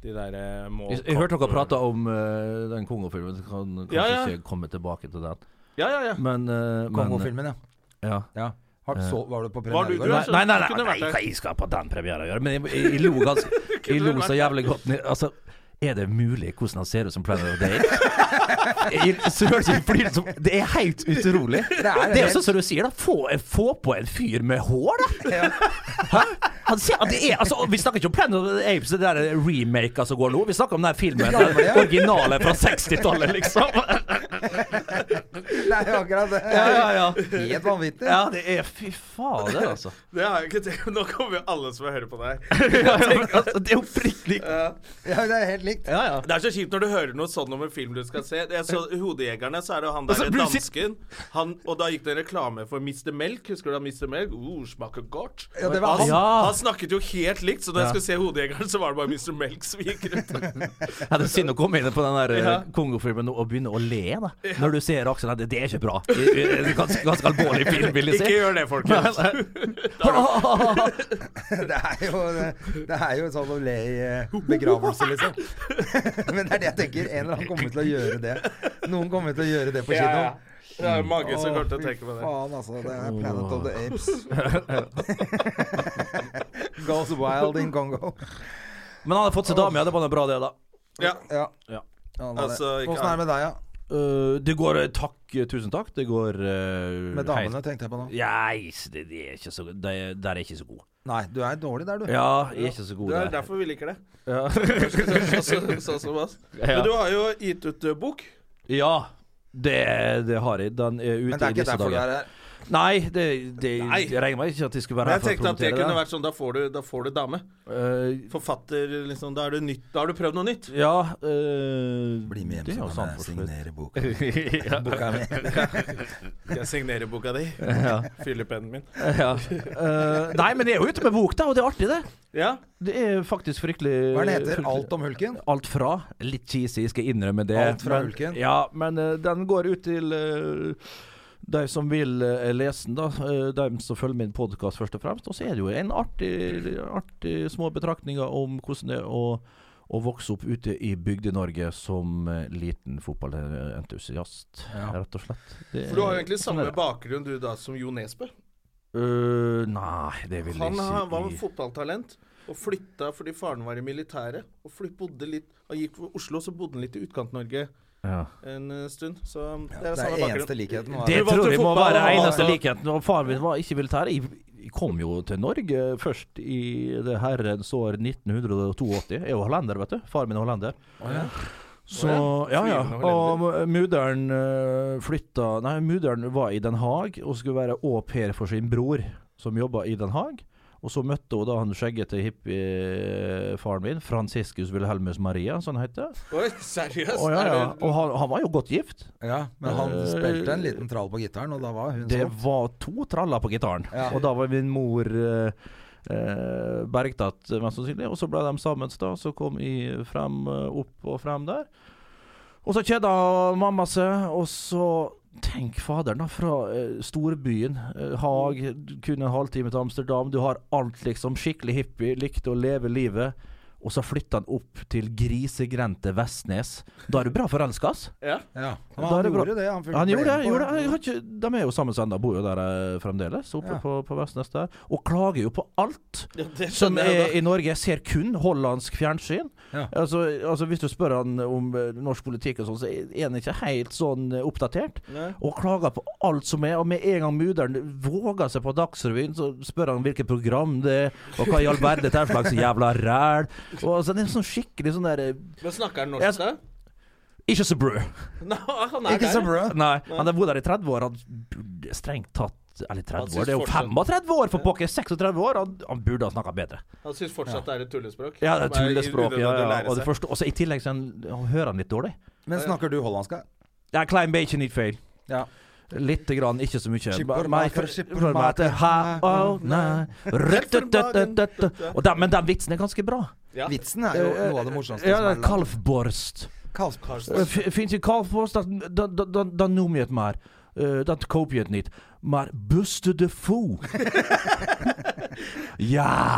De der eh, må Jeg, jeg hørte dere prate om eh, den kongofilmen. så Kan kanskje Ja, ja. ikke komme tilbake til den. Ja, ja, ja. Men, eh, men Kongofilmen, ja. Ja. ja. Har, så, var du på Var du- du er premiere i går? Nei, så- nei, nei, du kunne nei, vært der. nei hva jeg skal på den premieren å gjøre? Men jeg, jeg, jeg lo ganske Jeg lo så jævlig godt ned- Altså, er det mulig hvordan han ser ut som Planet of the Apes? Jeg- seriøst, jeg blir som- Det er helt utrolig. Det er er, helt- jo sånn som du sier, da. Få, få på en fyr med hår, da! Ja. Hæ? Han ser, at det er, altså, vi snakker ikke om Planet of the Apes, det der remake som går nå. Vi snakker om den filmen, den originale fra 60-tallet, liksom. Det er jo akkurat det. Ja, ja, ja. Helt vanvittig. Ja, det er Fy fader, altså. Det har jeg ikke tenkt Nå kommer jo alle som hører på deg. Ja, ja, men, altså det er oppriktig Ja, det er helt likt. Ja, ja. Det er så kjipt når du hører noe sånn om en film du skal se. Jeg så Hodejegerne, så er det jo han der Altså, blir du dansken. Han, og da gikk det en reklame for Mr. Melk. Husker du da Mr. Melk? Uh, smaker godt. Ja, det var han, han. Ja. han snakket jo helt likt, så da Ja. jeg skulle se Hodejegeren, så var det bare Mr. Melk som gikk rundt. Ja, det er synd å komme inn på den der Ja. ja. kongofilmen og begynne å le da. når du ser Aksel. Hennie. Det er ikke bra. Det er Ganske, ganske alvorlig film, vil jeg Ikke si. gjør det, folkens. Det er jo, det er jo sånn å le i eh, begravelse, liksom. Men det er det jeg tenker. En eller annen kommer til å gjøre det. Noen kommer til å gjøre det på Ja, kino. ja. Det er mange som Å, kommer til å fy tenke på det. Faen, altså. Det er Planet of the Apes. Goes wild in Congo. Men han har fått seg dame, ja. Det var noe bra, det, da. Ja. Ja. Ja. Ja, han var det. Altså, ikke- Åssen er det med deg, ja? Eh, det går eh, Takk, eh, tusen takk. Det går eh, Med damene, tenkte jeg på nå. helt- Nei, det, det er ikke så det, Der er jeg ikke så god. Nei, du er dårlig der, du. Ja, jeg er ikke så god Det er der. derfor vi liker det. Ja. Sånn så, så, som oss. Men du har jo gitt ut eh, bok. ja. Det, det har jeg. Den er ute Men det er i ikke disse derfor du dager. er her. Nei, det, det, Nei. jeg regner meg ikke at jeg skulle være Men jeg her for å tenkte at det promotere kunne det. vært sånn, da får du, da får du dame. Eh, Forfatter, liksom. Da er du nytt. Da har du prøvd noe nytt. Ja eh, Bli med Det er hjem, jo så sant, kan jeg for så vidt. signere boka. ja. boka mi. Jeg signerer boka di. ja. Fyller pennen min. ja. Eh, nei, men jeg er jo ute med bok, da, og det er artig, det. Ja. Det er faktisk fryktelig Hva er den heter? fryktelig- Alt om hulken? Alt fra. Litt cheesy, skal jeg innrømme det. Alt fra men, hulken? Ja, men eh, den går ut til eh, de som vil eh, lese den, da. Eh, de som følger min podkast, først og fremst. Og så er det jo en artig, artig små betraktninger om hvordan det er å, å vokse opp ute i Bygde-Norge som eh, liten fotballentusiast, Ja. rett og slett. Det For du har er- jo egentlig sånn samme er det. bakgrunn du da som Jo Nesbø. Øh, nei, det vil Han jeg har- var ikke si. fotballtalent og flytta fordi faren var i militæret. Og flytt, bodde litt Han gikk fra Oslo, så bodde han litt i Utkant-Norge Ja. en eh, stund. Så det Det er er samme eneste bakgrunn. likheten. var Det valgte tror jeg må fotball, være og- eneste likheten. Og faren min var ikke militær. Jeg jeg kom jo til Norge først i det herrens år 1982. Jeg er jo hollender, vet du. Faren min er hollender. Så ja, ja. Flyvende Og mudder'n eh, flytta Nei, mudder'n var i Den Haag og skulle være au pair for sin bror, som jobba i Den Haag. Og så møtte hun da han skjeggete hippiefaren min, Franciscus Wilhelmus Maria, som han heter. Oi, seriøst? Å, ja, ja. Er det- Og han, han var jo godt gift. Ja, men han Eh, spilte en liten trall på gitaren, og da var hun Det sånn. var to traller på gitaren. Ja. Og da var min mor eh, eh, bergtatt, mest sannsynlig. Og så ble de sammen, da. Så kom jeg frem, eh, opp og frem der. Og så kjeda mamma seg, og så Tenk faderen, da. Fra eh, storbyen. Eh, Haag, kun en halvtime til Amsterdam. Du har alt, liksom. Skikkelig hippie, likte å leve livet. Og så flytta han opp til grisegrendte Vestnes. Da er du bra forelska, ass. Ja. Ja. Da Han, er det bra. gjorde jo det. Han, fulgte Han gjorde med det. på- Gjorde det. Jeg har ikke, de er jo sammen ennå, bor jo der eh, fremdeles, oppe Ja. på, på Vestnes der. Og klager jo på alt Ja, det som skjønner jeg er jo da. i Norge. Jeg ser kun hollandsk fjernsyn. Ja. Altså, altså Hvis du spør han om eh, norsk politikk og sånn, så er han ikke helt sånn eh, oppdatert. Og klager på alt som er. Og med en gang mudder'n våger seg på Dagsrevyen, så spør han hvilket program det er, og hva i all verden dette er for slags jævla ræl. Og altså, det er sånn skikkelig sånn der eh, Men snakker han norsk, Jeg- da? Ikke så brød. Nei, han er Ikke så der. bra. Nei, han har bodd her i 30 år. Han burde strengt tatt Eller 30 synes år, det er jo fortsatt- 35 år for pokker! 36 år! Han, han burde ha snakka bedre. Han syns fortsatt det er et tullespråk. Ja, det er Som tullespråk. unødvendig Ja, å ja. lære Og det seg. forstår, også I tillegg så han, han hører han litt dårlig. Men snakker du hollandsk? da? Det er klein bacon, ikke feil. Ja. Lite grann, ikke så mye. Skippermaker, Meg- skippermaker. Ha, å, nei. Røttetøttetøtte. Og den- Men den vitsen er ganske bra. Ja. Vitsen er jo noe av det morsomste Eh, Ja, som er det er lagd. Kalvborst. Kalvskarsten. Fins ikke kalvpost, da, da, da, da noem je het maar. Eh, dat koop je het niet. Maar Buster de Foo.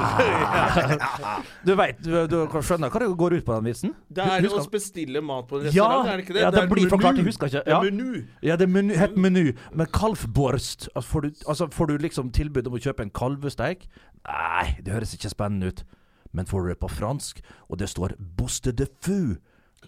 ja Du veit, du, du skjønner hva det går ut på, den vitsen? Det er jo Husker- å bestille mat på en Ja, restaurant, er det ikke det? ja, det det er blir menu. forklart, jeg husker ikke. Det Ja. er menu. Ja, det er menu, het meny. Men kalvborst altså får, du, altså får du liksom tilbud om å kjøpe en kalvesteik? Nei, det høres ikke spennende ut. Men får du det på fransk, og det står 'Boste de fou',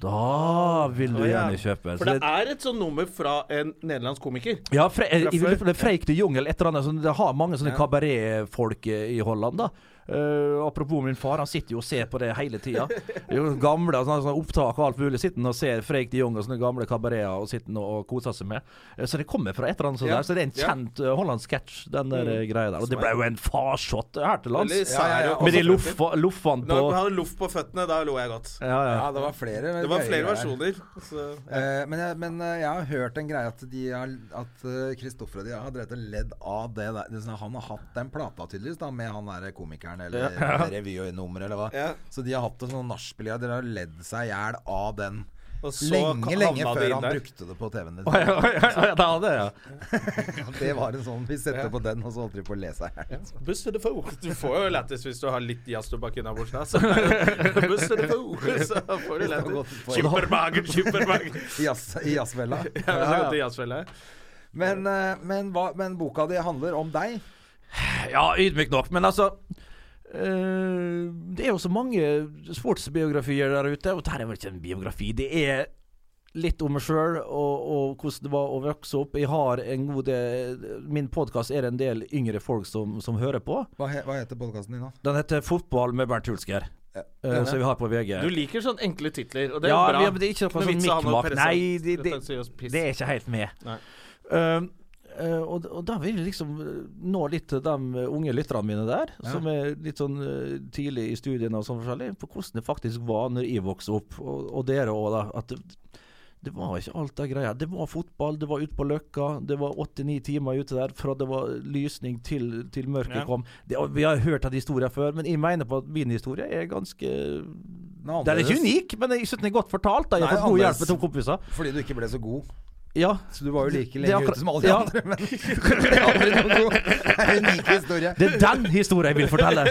da vil du Å, ja. gjerne kjøpe. Så For det er et sånt nummer fra en nederlandsk komiker. Ja, fre eh, Fra i, før. det er Freik de Jungel, et eller annet sånn, Det har mange sånne kabaretfolk eh, i Holland, da. Eh, apropos min far, han sitter jo og ser på det hele tida. Det er jo Gamle sånne, sånne opptak og alt mulig. Sitter han og ser Freik de Jong og sånne gamle kabareter og sitter han og koser seg med. Eh, så det kommer fra et eller annet sånt Ja. der. Så det er en Ja. Mm. kjent eh, hollandsk sketsj, den der eh, greia der. Og det ble jo en farsott her til Eller lands. sær- ja, ja. og Med de føtter. loffa- loffene Når på han hadde loff på føttene, da lo jeg godt. ja, ja. Ja, det var flere. Det var greier flere der. versjoner. Så. Eh, men, jeg, men eh, jeg har hørt en greie at, de har, at eh, Kristoffer og de har drevet og ledd av det der. Det er sånn at han har hatt den plata tydeligvis da, med han der komikeren eller revynummeret eller hva. Ja. Så de har hatt det sånn nachspiel. ja, Dere har ledd seg i hjel av den. Og så lenge, havna lenge det før inn han der. brukte det på TV-en. Oi, oi, oi, oi, det hadde jeg, ja. Det var en sånn Vi setter på den, og så holdt de på å le seg i hjel. Buster the foe. Du får jo lættis hvis du har litt jazztobakk innabords. Buster the foe, så får du lættis. Skippermagen, skippermagen. I jazz- I jazzfella. Ja, så går det til jazzfelle. Men, eh, men, hva, men boka di handler om deg. Ja, ydmyk nok, men altså eh, Det er jo så mange sportsbiografier der ute, og dette er vel ikke en biografi. Det er litt om meg sjøl og, og hvordan det var å vokse opp. Jeg har en god del Min podkast er det en del yngre folk som, som hører på. Hva, he, hva heter podkasten din nå? Den heter 'Fotball med Bernt Hulsker', eh, som vi har på VG. Du liker sånne enkle titler, og det er Ja, bra. vi- men det er ikke noe noe sånn vits å ha noe mikkmakk. presen- Nei, det, det, pretensiøs piss. det er ikke helt med. Nei. Um, uh, og, og da vil jeg liksom uh, nå litt til de uh, unge lytterne mine der, som er litt sånn uh, tidlig i studiene og sånn forskjellig, på hvordan det faktisk var når jeg vokste opp, og, og dere òg, da. At det, det var ikke alt det greia. Det var fotball, det var ute på Løkka, det var åtte-ni timer ute der fra det var lysning til, til mørket Ja. kom. Det, og vi har hørt den historien før, men jeg mener på at min historie er ganske Nå, Den er ikke annerledes. unik, men jeg synes den er godt fortalt. Da. Jeg Nei, har fått god hjelp annerledes. av to kompiser. Fordi du ikke ble så god. Ja. Så du var jo like Det- lenge det er ute akkurat- som alle de ja. andre. Men aldri noe god. Det er en unik historie. Det er den historien jeg vil fortelle.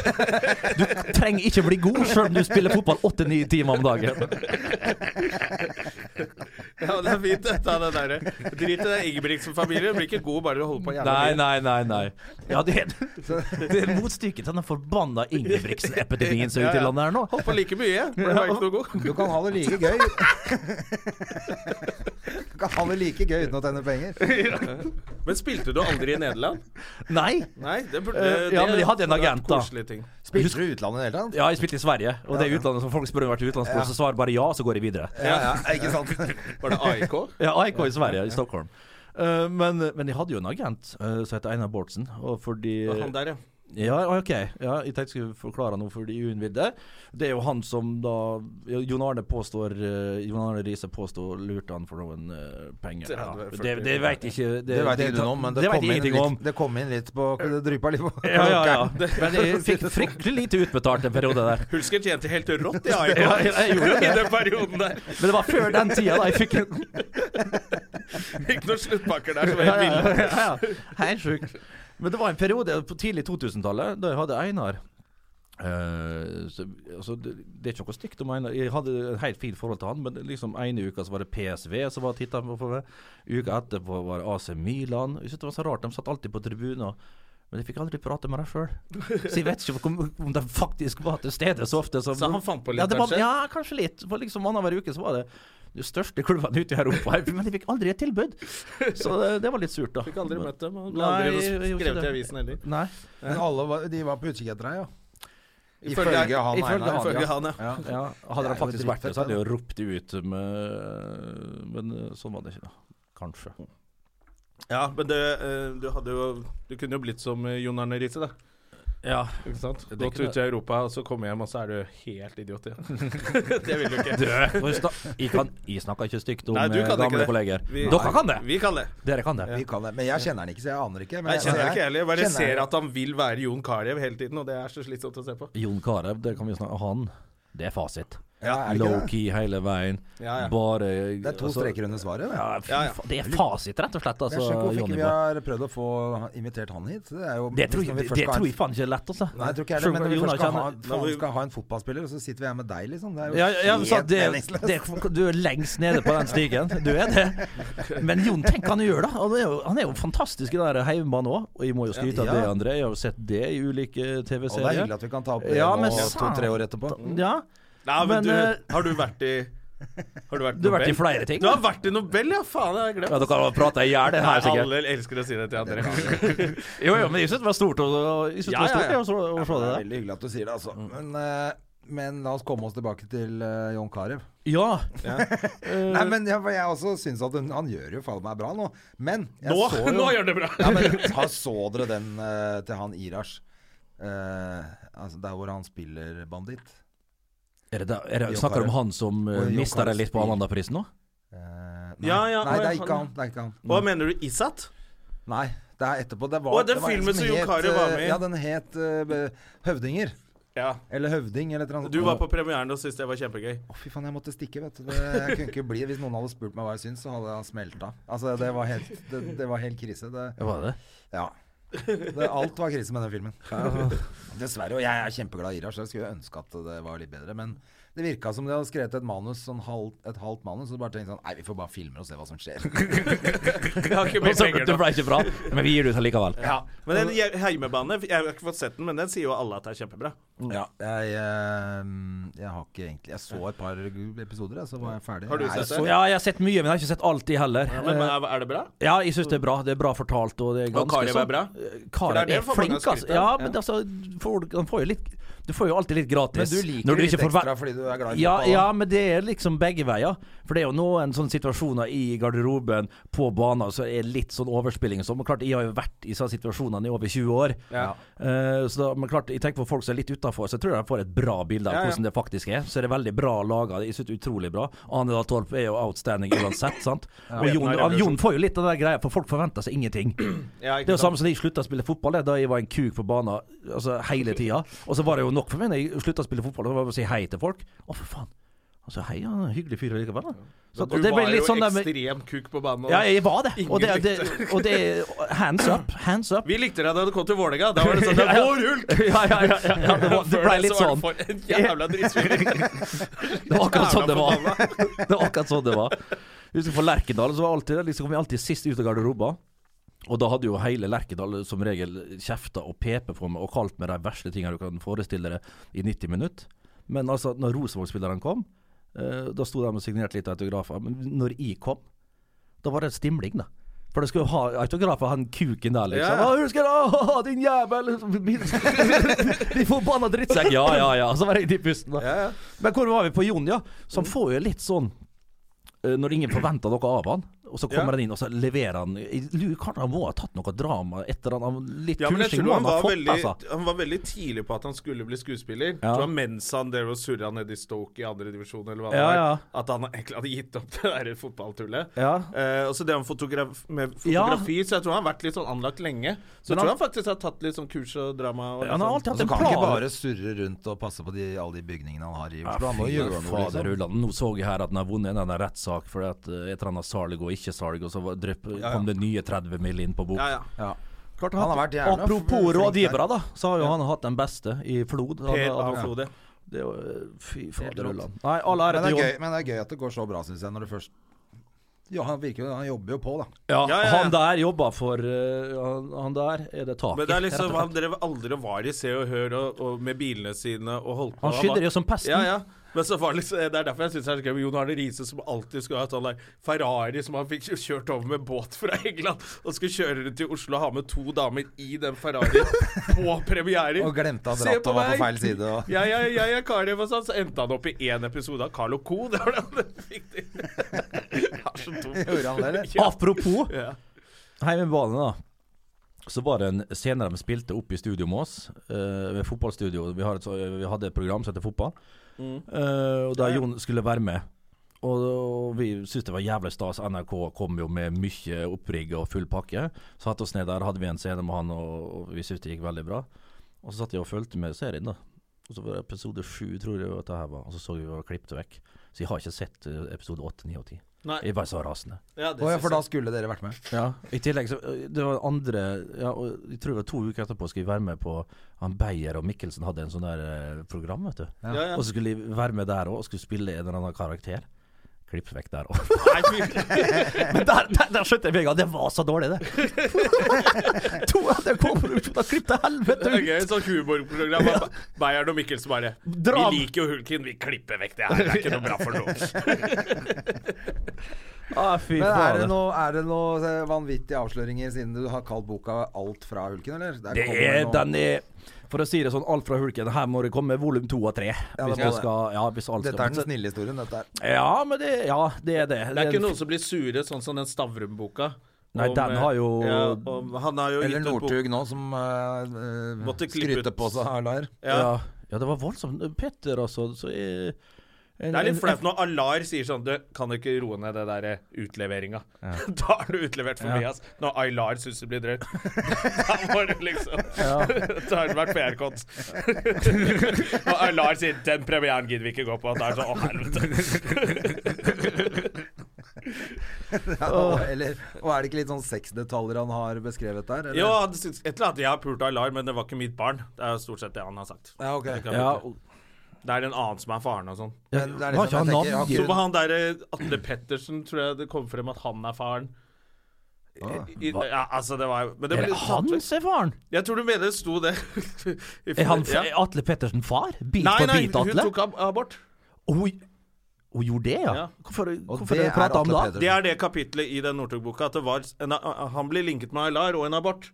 Du trenger ikke bli god selv om du spiller fotball 8-9 timer om dagen. Ja, det er fint, dette. Det der. Drit i det Ingebrigtsen-familien. Blir ikke god bare du holder på jævla Nei, mye. nei, nei. nei Ja, Det, det er motstykket til den forbanna Ingebrigtsen-epidemien som er ute i landet her nå. Holdt på like mye, for det var ikke noe god. Du kan ha det like gøy. Du kan ha det like gøy uten å tjene penger. Men spilte du aldri i Nederland? Nei. Nei, det burde Eh, ja, det men de hadde hadde en vært agent, da. koselige ting. Spilte du i utlandet i det hele tatt? Ja, jeg spilte i Sverige, og det er utlandet som folk spør om jeg har vært utenlands, så svarer jeg bare ja, så går jeg videre. Ja, ja, ikke sant? Var det AIK? Ja, AIK i Sverige, i Stockholm. Eh, men, men jeg hadde jo en agent eh, som heter Einar Bårdsen, og fordi Han der, ja. Ja, ok. Ja, jeg tenkte jeg skulle forklare noe for de uinnvidde. Det er jo han som da Jon Arne påstår eh, Jon Arne Riise påstår lurte han for noen eh, penger. Ja. 30, 40. Det, det veit ikke Det, Det veit ikke du noe om, men det, vet kom jeg inn ingenting litt, om. det kom inn litt på Det dryppa litt på Ja, ja, ja. Men jeg fikk fryktelig lite utbetalt en periode der. Hulsker tjente helt rått i AIK Ja, jeg- jeg gjorde i den perioden der. Men det var før den tida da jeg fikk en Ikke noen sluttpakker der som var Ja, helt ja, ville. ja, ja. Helt sjukt. Men det var en periode på tidlig 2000-tallet da jeg hadde Einar. Eh, så, altså, det, det er ikke noe stygt å mene. Jeg hadde et helt fint forhold til han, men liksom ene uka så var det PSV som var titta på for meg. Uka etterpå var det AC Milan. Jeg synes det var så rart, De satt alltid på tribunen. Men jeg fikk aldri prate med dem sjøl. Så jeg vet ikke om, om de faktisk var til stede så ofte. Som, Så han fant på litt, ja, det var, kanskje? Ja, kanskje litt. For liksom Annenhver uke så var det de største klubbene ute i Europa. Men jeg fikk aldri et tilbud. Så det, det var litt surt, da. Fikk aldri møtt dem, og ble Nei, aldri jeg gjorde skrevet i ikke det. avisen heller. Nei. Men alle var, de var på utkikk etter deg, ja. Ifølge- han, ifølge Einar. han, ja. Ifølge han, ja. Ja. Ja, hadde Det er de jo faktisk vært dritfett, der, så hadde de jo ropt det ut med Men eh, sånn var det ikke, da. Kanskje. Ja, men det, eh, du hadde jo Du kunne jo blitt som eh, Jon Arne Riise, da. Ja. Ikke sant? Det Gått kunne- ut i Europa, og så komme hjem, og så er du helt idiot igjen. det vil du ikke. Jeg, kan, jeg snakker ikke stygt om Nei, du eh, kan ikke gamle det. kolleger. Vi- Dere kan det! Vi kan det. Dere kan det. Vi kan det. Men jeg kjenner han ikke, så jeg aner ikke. Men Nei, Jeg kjenner det ikke heller. Jeg bare kjenner ser jeg- at han vil være Jon Carew hele tiden, og det er så slitsomt å se på. Jon Carew, det kan vi snakke Han, det er fasit. Ja, er det ikke det? Low-key hele veien. Ja, ja. Bare Det er to Altså, streker under svaret. Ja, det. fy Ja, ja. faen, Det er fasit, rett og slett. Jeg Altså, skjønner ikke hvorfor ikke Johnny vi Boy. har prøvd å få invitert han hit. Det, er jo, Det tror, hvis vi først jeg, det, det skal ha en- tror jeg faen ikke er lett, altså. Nei, jeg tror ikke jeg Selv det. om Men når vi Jonas først skal ha, kjenner- Nå må faen, vi- skal ha en fotballspiller, og så sitter vi her med deg, liksom. Det er jo Ja, ja, ja, så helt det, meningsløst. det, du er lengst nede på den stigen. Du er det. Men Jon, tenk hva han gjør, da. Han er jo, han er jo fantastisk i den der heimebanen òg. Og jeg må jo skryte av Ja. det, André. Jeg har jo sett det i ulike Og det er TV-serier. hyggelig at vi kan ta opp det Ja, men nå sant. to-tre år etterpå. Ja, Nei, men, Men, du, eh, har du vært i Har du vært, Du har vært i Nobel? flere ting, Du har da. vært i Nobel, ja! Faen, det har jeg glemt. ja dere har prata i hjel, det her Nei, sikkert. alle elsker å si det til andre. Jo, jo, men jeg syns det var stort å å- jeg synes det Ja, var ja, stort, ja. jeg, å så- Det å se det er der. Mm. veldig hyggelig at du sier det, altså. Men, eh, men la oss komme oss tilbake til eh, Jon Carew. Ja. Eh. Nei, men jeg, for jeg også syns at hun, han gjør jo faen meg bra nå. Men jeg Nå, så jo nå gjør det bra! Mm. ja, men, har, Så dere den eh, til han Irash? Eh, altså der hvor han spiller banditt? Er det, da- er det, Jon snakker du om Carew. han som Og uh, Jon mista Carew det litt på spiller. Amandaprisen nå? Eh, nei. Ja, ja, nei, å, ja, det er ikke han- han. Det er ikke han. Hva mener du, Isat? Nei, det er etterpå. Det var, Å, den det var en filmen som Jon het, Carew var med i. eh, Ja, den het eh, be- Høvdinger. Ja. Eller Høvding, eller et eller annet. Du var på premieren og syntes det var kjempegøy. Å, fy faen, jeg måtte stikke, vet du. Det, jeg kunne ikke bli Hvis noen hadde spurt meg hva jeg syns, så hadde jeg smelta. Altså, det var helt, det, det var helt krise. Det, Ja, var det? ja. Det, alt var krise med den filmen. Dessverre. Og jeg er kjempeglad i Irash, så jeg skulle ønske at det var litt bedre. Men det virka som de hadde skrevet et manus, sånn halv, et halvt manus, og så bare tenkte sånn Nei, vi får bare filme og se hva som skjer. Jeg har ikke Og mer så- penger Det nå. ble ikke bra, men vi gir det ut allikevel. Ja. Altså, Men den je- heimebane, jeg har ikke fått sett den, men den sier jo alle at det er kjempebra. Ja, jeg, eh, jeg har ikke egentlig Jeg så et par episoder, jeg, så var jeg ferdig. Har du Nei, sett det? så- Ja, jeg har sett mye, men jeg har ikke sett alt, jeg heller. Ja, men er, er det bra? Ja, jeg syns det er bra. Det er bra fortalt. Og, det er Og ganske Carew er sånn- bra? For det er Carew det er for mange flink, har altså. skrytt av. Ja, men altså folk- han får jo litt, Du får jo alltid litt Men gratis. du liker når det litt ikke får væ- ekstra fordi du er glad i ja, fotball, da. ja, men det er liksom begge veier. For det er jo noen sånne situasjoner i garderoben, på banen, som er litt sånn overspilling og sånn. Men klart, jeg har jo vært i sånne situasjonene i over 20 år. Ja. Eh, så da, men klart, jeg tenker på folk som er litt utafor, så jeg tror de får et bra bilde av Ja, ja. hvordan det faktisk er. Så er det veldig bra laga. Jeg syns utrolig bra. Ane Dahl Torp er jo outstanding uansett, sant. Og Jon, Vietnam Revolution. Jon får jo litt av den greia, for folk forventer seg ingenting. Ja, Det er ikke jo samme som da jeg slutta å spille fotball, det, da jeg var en kuk på banen altså, hele tida. Og så var det jo nok for meg når jeg slutta å spille fotball, det var bare å si hei til folk. Å, for faen. Altså, hei, han er en hyggelig fyr likevel, da. Så, Du og det ble var jo litt sånn der med ekstrem kuk på banen. og- Ja, jeg var det. Og det, Ingen det, og det Hands up. Hands up. Vi likte deg da du kom til Vålerenga. Da var det sånn Det er vår hulk! Ja, ja, ja, ja, ja, det, var, det ble litt sånn. For en jævla drittfyr. Det var akkurat sånn det var. Det var akkurat sånn det var. Jeg husker på Lerkendal så var alltid, liksom, kom vi alltid sist ut av garderoba. Og da hadde jo hele Lerkendal som regel kjefta og pepet på meg og kalt meg de verste tinga du kan forestille deg i 90 minutter. Men altså, når Rosenborg-spillerne kom, eh, da sto de og signerte litt autografer. Men når jeg kom, da var det stimling, da. For det skulle jo ha autograf av han kuken der, liksom. Ja. Ja. 'Husker du, Å, din jævel!' De forbanna drittsekk. Ja, ja, ja. Så var det i pusten, da. Ja, ja. Men hvor var vi på Jon, ja? Så han får jo litt sånn eh, Når ingen forventer noe av han, og så kommer Ja. han inn og så leverer han Jeg lurer kanskje han må ha tatt noe drama etter han, han Litt Ja, men jeg kursing tror må han han ha var, fått, veldig, altså. han var veldig tidlig på at han skulle bli skuespiller. Ja. Tror han mens han drev og surra nede i Stoke i andre divisjon, eller hva det Ja, var, ja. at han egentlig hadde gitt opp det der fotballtullet. Ja. Eh, og så det med, fotograf med Ja. fotografi, så jeg tror han har vært litt sånn anlagt lenge. Så jeg Men tror han- han faktisk har tatt litt sånn kurs og drama. Og Han har litt sånn- alltid Og så hatt en kan han ikke plan. bare surre rundt og passe på de, alle de bygningene han har i Oslo. Han må gjøre noe, Fader liksom. Ulland, nå så jeg her at han har vunnet en av den rettssak fordi at eh, et eller annet salg og ikke salg, og så var, drypp, kom det nye 30 mill. inn på bok. ja, ja. Ja. Klart Han har vært jævla Apropos flink der. rådgivere, da, så har jo han hatt den beste i Flod. Han Per har- Adolf Lode. Det er jo- eh, Fy Helt fader, rått. Ulland. Nei, all ære Men det, til er gøy, Jon. men det er gøy at det går så bra, syns jeg, når det først Ja, han virker jo Han jobber jo på, da. Ja, Ja, ja, ja. Han der jobba for eh, han, han der er det taket. Men det er liksom rett og han slett. drev aldri og var i Se og Hør og, og med bilene sine og holdt på. Han skydder var- jo som pesten. Ja, ja. Men så var det, liksom, det er derfor jeg syns det er så gøy med Jon Arne Riise, som alltid skulle ha et sånn like, Ferrari som han fikk kjørt over med båt fra England, og skulle kjøre rundt i Oslo og ha med to damer i den Ferrarien på premiere. Og glemte at Se rattet på var på meg! feil side. Og... Ja, ja, ja, ja, Karim og sånn. Så endte han opp i én episode av Carlo Co. Det var det han fikk til. Det er så dumt. Gjorde han det, eller? Ja. Apropos Ja. Heimebane, da. Så var det en senere de spilte opp i studio med oss, eh, ved fotballstudio. Vi, har et, så- vi hadde et program som heter Fotball, Mm. Eh, og der Jon skulle være med. Og, og vi syntes det var jævlig stas. NRK kom jo med mye opprigg og full pakke. Satte oss ned der, hadde vi en scene med han, og, og vi syntes det gikk veldig bra. Og så satt jeg og fulgte med serien, da. Og så var det episode sju, tror jeg at det her var. Og så så vi det var klippet vekk. Så jeg har ikke sett eh, episode åtte, ni og ti. Nei. Jeg var så rasende. Ja, det Å ja, synes for da jeg. skulle dere vært med. Ja, i tillegg så ø, Det var andre ja, og Jeg tror det var to uker etterpå skulle jeg være med på Han Beyer og Mikkelsen hadde en sånn der eh, program, vet du. Ja, ja. Og så skulle jeg være med der òg, og skulle spille en eller annen karakter. Klipp vekk der òg. Nei, fy- Men der, der, der skjønte jeg med en gang det var så dårlig, det! to NRK-produksjoner klipp til helvete Det er ut! gøy, sånn humorprogram. Ja. Bayern og Mikkelsen bare Dram. Vi liker jo Hulken, vi klipper vekk det her. Det er ikke noe bra for noen. Ah, fy Men er det faen. noe, er det noe eh, vanvittige avsløringer siden du har kalt boka 'Alt fra hulken', eller? Der Det kommer er, noe- den er For å si det sånn, alt fra hulken. Her må det komme volum to og tre. det må Hvis vi det. skal Ja, hvis alt Dette er den skal snille historien, dette er. Ja, men det Ja, det er det. Det er ikke noen som blir sure, sånn som den Stavrum-boka. Nei, Om, den eh, har jo- ja, om, Han har jo Eller gitt ut bok Northug nå, som uh, Måtte klippe skryter ut. på seg Alar. ja. Ja. ja, det var voldsomt. Petter, altså. Så jeg, en, Det er litt en- flaut når Alar sier sånn Du, kan du ikke roe ned det der eh, utleveringa? Da er du utlevert for mye, ass. Når Aylar syns det blir drøyt. da må du liksom Da har det vært PR-kont. og Aylar sier 'Den premieren gidder vi ikke gå på'. Da er det sånn Å, helvete. eller, og er det ikke litt sånn sexdetaljer han har beskrevet der? Eller? Jo, han syns et eller annet. Jeg har pult Aylar, men det var ikke mitt barn. Det er jo stort sett det han har sagt. Ja, ok. Det, Ja, det er en annen som er faren og sånn. Men det er Har ikke han liksom, jeg tenker, navn? Så har ikke- var han der eh, Atle Pettersen, tror jeg det kom frem at han er faren. I, i, ja, altså, det var jo men det Ah, er ble det han tatt- som er faren? Jeg tror du mener det sto det. I- Er han ja. er Atle Pettersen far? Bit Nei, for nei, bit, hun Atle? tok ab abort. Og Hun, hun gjorde det, ja? Ja. Hvorfor, hvorfor det er har dere prata Atle om det? Pedersen. Det er det kapitlet i den Northug-boka. At det var en, han blir linket med Aylar og en abort.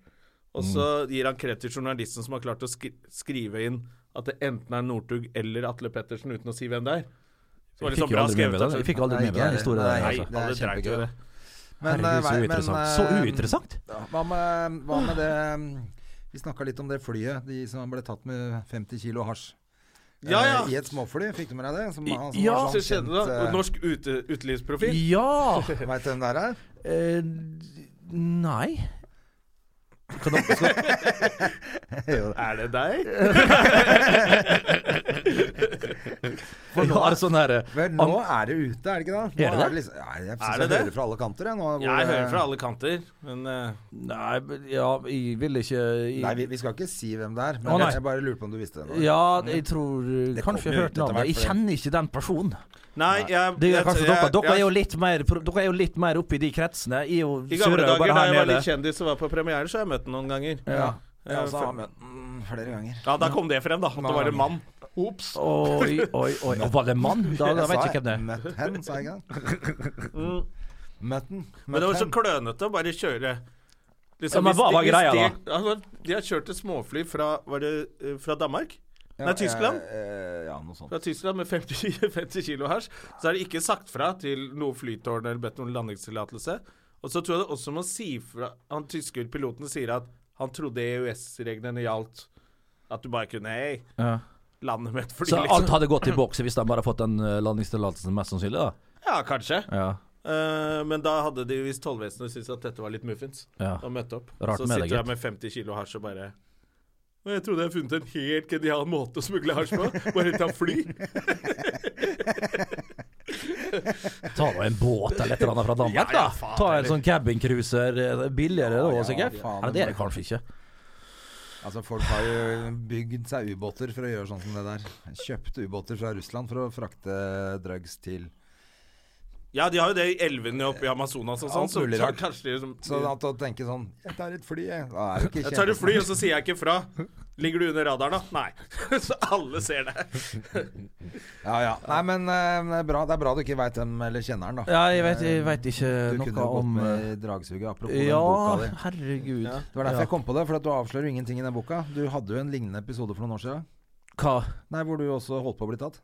Og så Mm. gir han kred til journalisten som har klart å skri skrive inn at det enten er Northug eller Atle Pettersen, uten å si hvem det er. Så var Jeg det fikk sånn jo bra aldri med meg skrevet. den, jeg fikk aldri Nei, med meg den ikke historien. jeg. der, Nei, altså. det er alle dreit jo i kjempegøy. det. Men, eh, Herregud, så vei- men, uinteressant. Så eh, uinteressant! ja, Hva med, hva med det Vi snakka litt om det flyet, de som ble tatt med 50 kilo hasj. Ja, ja. Eh, I et småfly, fikk du med deg det? Som, han som Ja, Ja, var så sånn skjedde kjent, det. eh, Norsk ute, eh, utelivsprofil. Ja! Vet du hvem det her er? Eh, nei. Kan dere, skal, Er det deg? jeg har sånn her eh, Vel, nå er det ute, er det ikke det? Nå Er det det? liksom, ja, jeg synes Er jeg det det? hører fra alle kanter, jeg. Nå, hvor, Jeg hører fra eh, alle kanter, men eh, Nei, men- ja, jeg vil ikke jeg, Nei, vi, vi skal ikke si hvem det er, men Å, nei. jeg bare lurer på om du visste det. nå. Ja, jeg tror eh, Kanskje jeg kommer har ut hørt etter navnet. hvert, Jeg for det- kjenner ikke den personen. Nei, jeg Det gjør jeg- kanskje jeg- dere. Dere er jo jeg- litt mer, dere er jo litt mer oppe i de kretsene. Jeg og I gamle Søre er jo dager bare da jeg her var nede. litt kjendis og var på premiere, så har jeg møtt den noen ganger. Ja. Jeg Ja, også for- har møtt den flere ganger. Ja, da kom det frem, da. At det var en mann. Ops. Oi, oi, oi. Og var det en mann? Da, da vet jeg ikke hvem det er. Møtt hen, sa jeg ikke det? Møtt den. Mm. Men det var Møtt så hen. klønete å bare kjøre liksom, Ja, men hvis hva de- var hvis greia de- da? Altså, de har kjørt et småfly fra Var det eh, fra Danmark? Nei, Tyskland. Ja, eh, ja, noe sånt. Fra Tyskland med 50, 50 kilo hasj. Så er det ikke sagt fra til noe flytårn eller bedt om landingstillatelse. Og så tror jeg det også må si fra Han tyske piloten sier at han trodde EØS-reglene gjaldt at du bare kunne Hei, lande med et fly, Så alt liksom. hadde gått i boks hvis de bare hadde fått den eh, landingstillatelsen, mest sannsynlig? da Ja, kanskje. Ja, Eh, men da hadde de hvis tollvesenet syntes at dette var litt muffins, ja. og møtte opp. Rart så med sitter jeg det, med 50 kilo hasj og bare men jeg trodde jeg hadde funnet en helt genial måte å smugle hasj på. Bare ta fly. Ta nå en båt eller et eller annet fra Ja, Danmark, da. ja, faen, Ta en eller- sånn cabincruiser. eh, Billigere da, Ja, ja, sikkert. faen. Eller det er det kanskje ikke. Altså Folk har jo bygd seg ubåter for å gjøre sånn som det der. Kjøpt ubåter fra Russland for å frakte drugs til Ja, de har jo det i elvene oppe i Amazonas og sånn. Alt Så, mulig så rart. kanskje de liksom Så at å tenke sånn Jeg tar et fly, jeg. Da er det ikke Jeg tar et fly, og kjempesmart. så sier jeg ikke fra. Ligger du under radaren, da? Nei. Så alle ser det. Ja, ja. Nei, men eh, det er bra, det er bra du ikke veit hvem eller kjenner den, da. Eh, Ja, jeg vet, jeg vet ikke Du kunne noe jo gått om med i dragsuget, apropos eh, Ja, den boka di. herregud. Det var derfor Ja. jeg kom på det, for at du avslører jo ingenting i den boka. Du hadde jo en lignende episode for noen år siden. Hva Nei, hvor du også holdt på å bli tatt.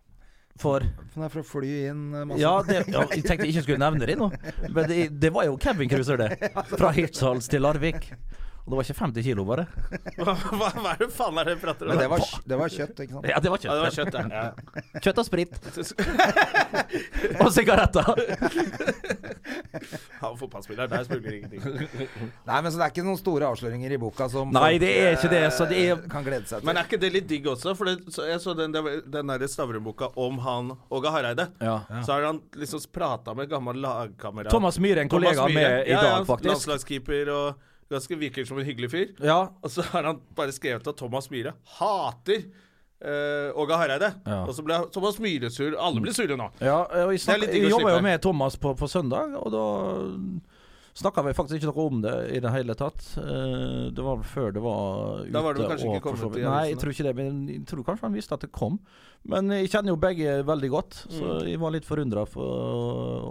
for For det er for å fly inn eh, masse Ja, det, ja jeg tenkte jeg ikke skulle nevne det nå, men det, det var jo cabincruiser, det. Fra Hirtshals til Larvik. Og det var ikke 50 kilo, bare. Hva, hva, hva er det faen er det du prater om? Men det var, det var kjøtt, ikke sant? Ja, det var ja, det var kjøtt. kjøtt, ja. ja. Kjøtt og sprit. Og sigaretter. Han var fotballspiller, der smuler ingenting. Nei, men så det er ikke noen store avsløringer i boka som Nei, folk, det er ikke det. Så det eh, er kan glede seg til. Men er ikke det litt digg også? For det, så jeg så den, der- den der Stavrum-boka om han Åge Hareide. Ja. Så har han liksom prata med gammel lagkamerat. Thomas Myhre, en kollega Thomas Myhre. med i Ja, dag, ja, faktisk. Landslagskeeper og ganske virker som en hyggelig fyr. Ja. Og så har han bare skrevet at Thomas Myhre hater eh, Åge Hareide. Ja. Og så ble Thomas Myhre sur. Alle blir sure nå. Ja, eh, og Det jeg, snak, er litt digg å jeg jobba jo slippe. med Thomas på, på søndag, og da snakka vi faktisk ikke noe om det i det hele tatt. Eh, Det var vel før det var ute. Da var det vel kanskje og ikke kommet for så vidt- i Nei, avisene. jeg tror ikke det, men jeg tror kanskje han visste at det kom. Men jeg kjenner jo begge veldig godt, så Mm. jeg var litt forundra for,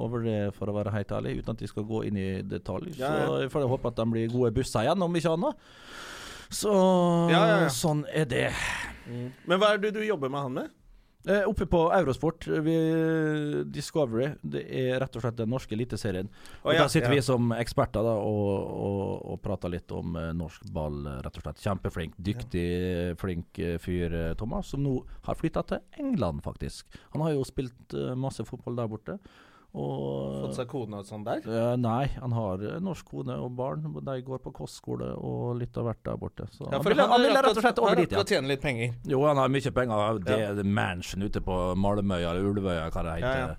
over det, for å være helt ærlig. Uten at de skal gå inn i detalj. Ja, ja. Så jeg får håpe at de blir gode busser igjen, om ikke annet. Så Ja, ja, ja. sånn er det. Men hva er det du jobber med han med? Eh, Oppe på Eurosport, eh, vi, Discovery, det er rett og slett den norske eliteserien. Og Å, ja, Der sitter ja. vi som eksperter da og, og, og prater litt om eh, norsk ball, eh, rett og slett. Kjempeflink, dyktig, eh, flink eh, fyr eh, Thomas, som nå har flytta til England, faktisk. Han har jo spilt eh, masse fotball der borte. Og Fått seg kone og sånn der? Eh, nei, han har eh, norsk kone og barn. men De går på kostskole og litt av hvert der borte. Så han, ville, han ville rett og slett over dit, ja. å tjene litt penger. Jo, han har mye penger. Det er mansion ute på Malmøya eller Ulvøya, hva det heter. Ja, ja.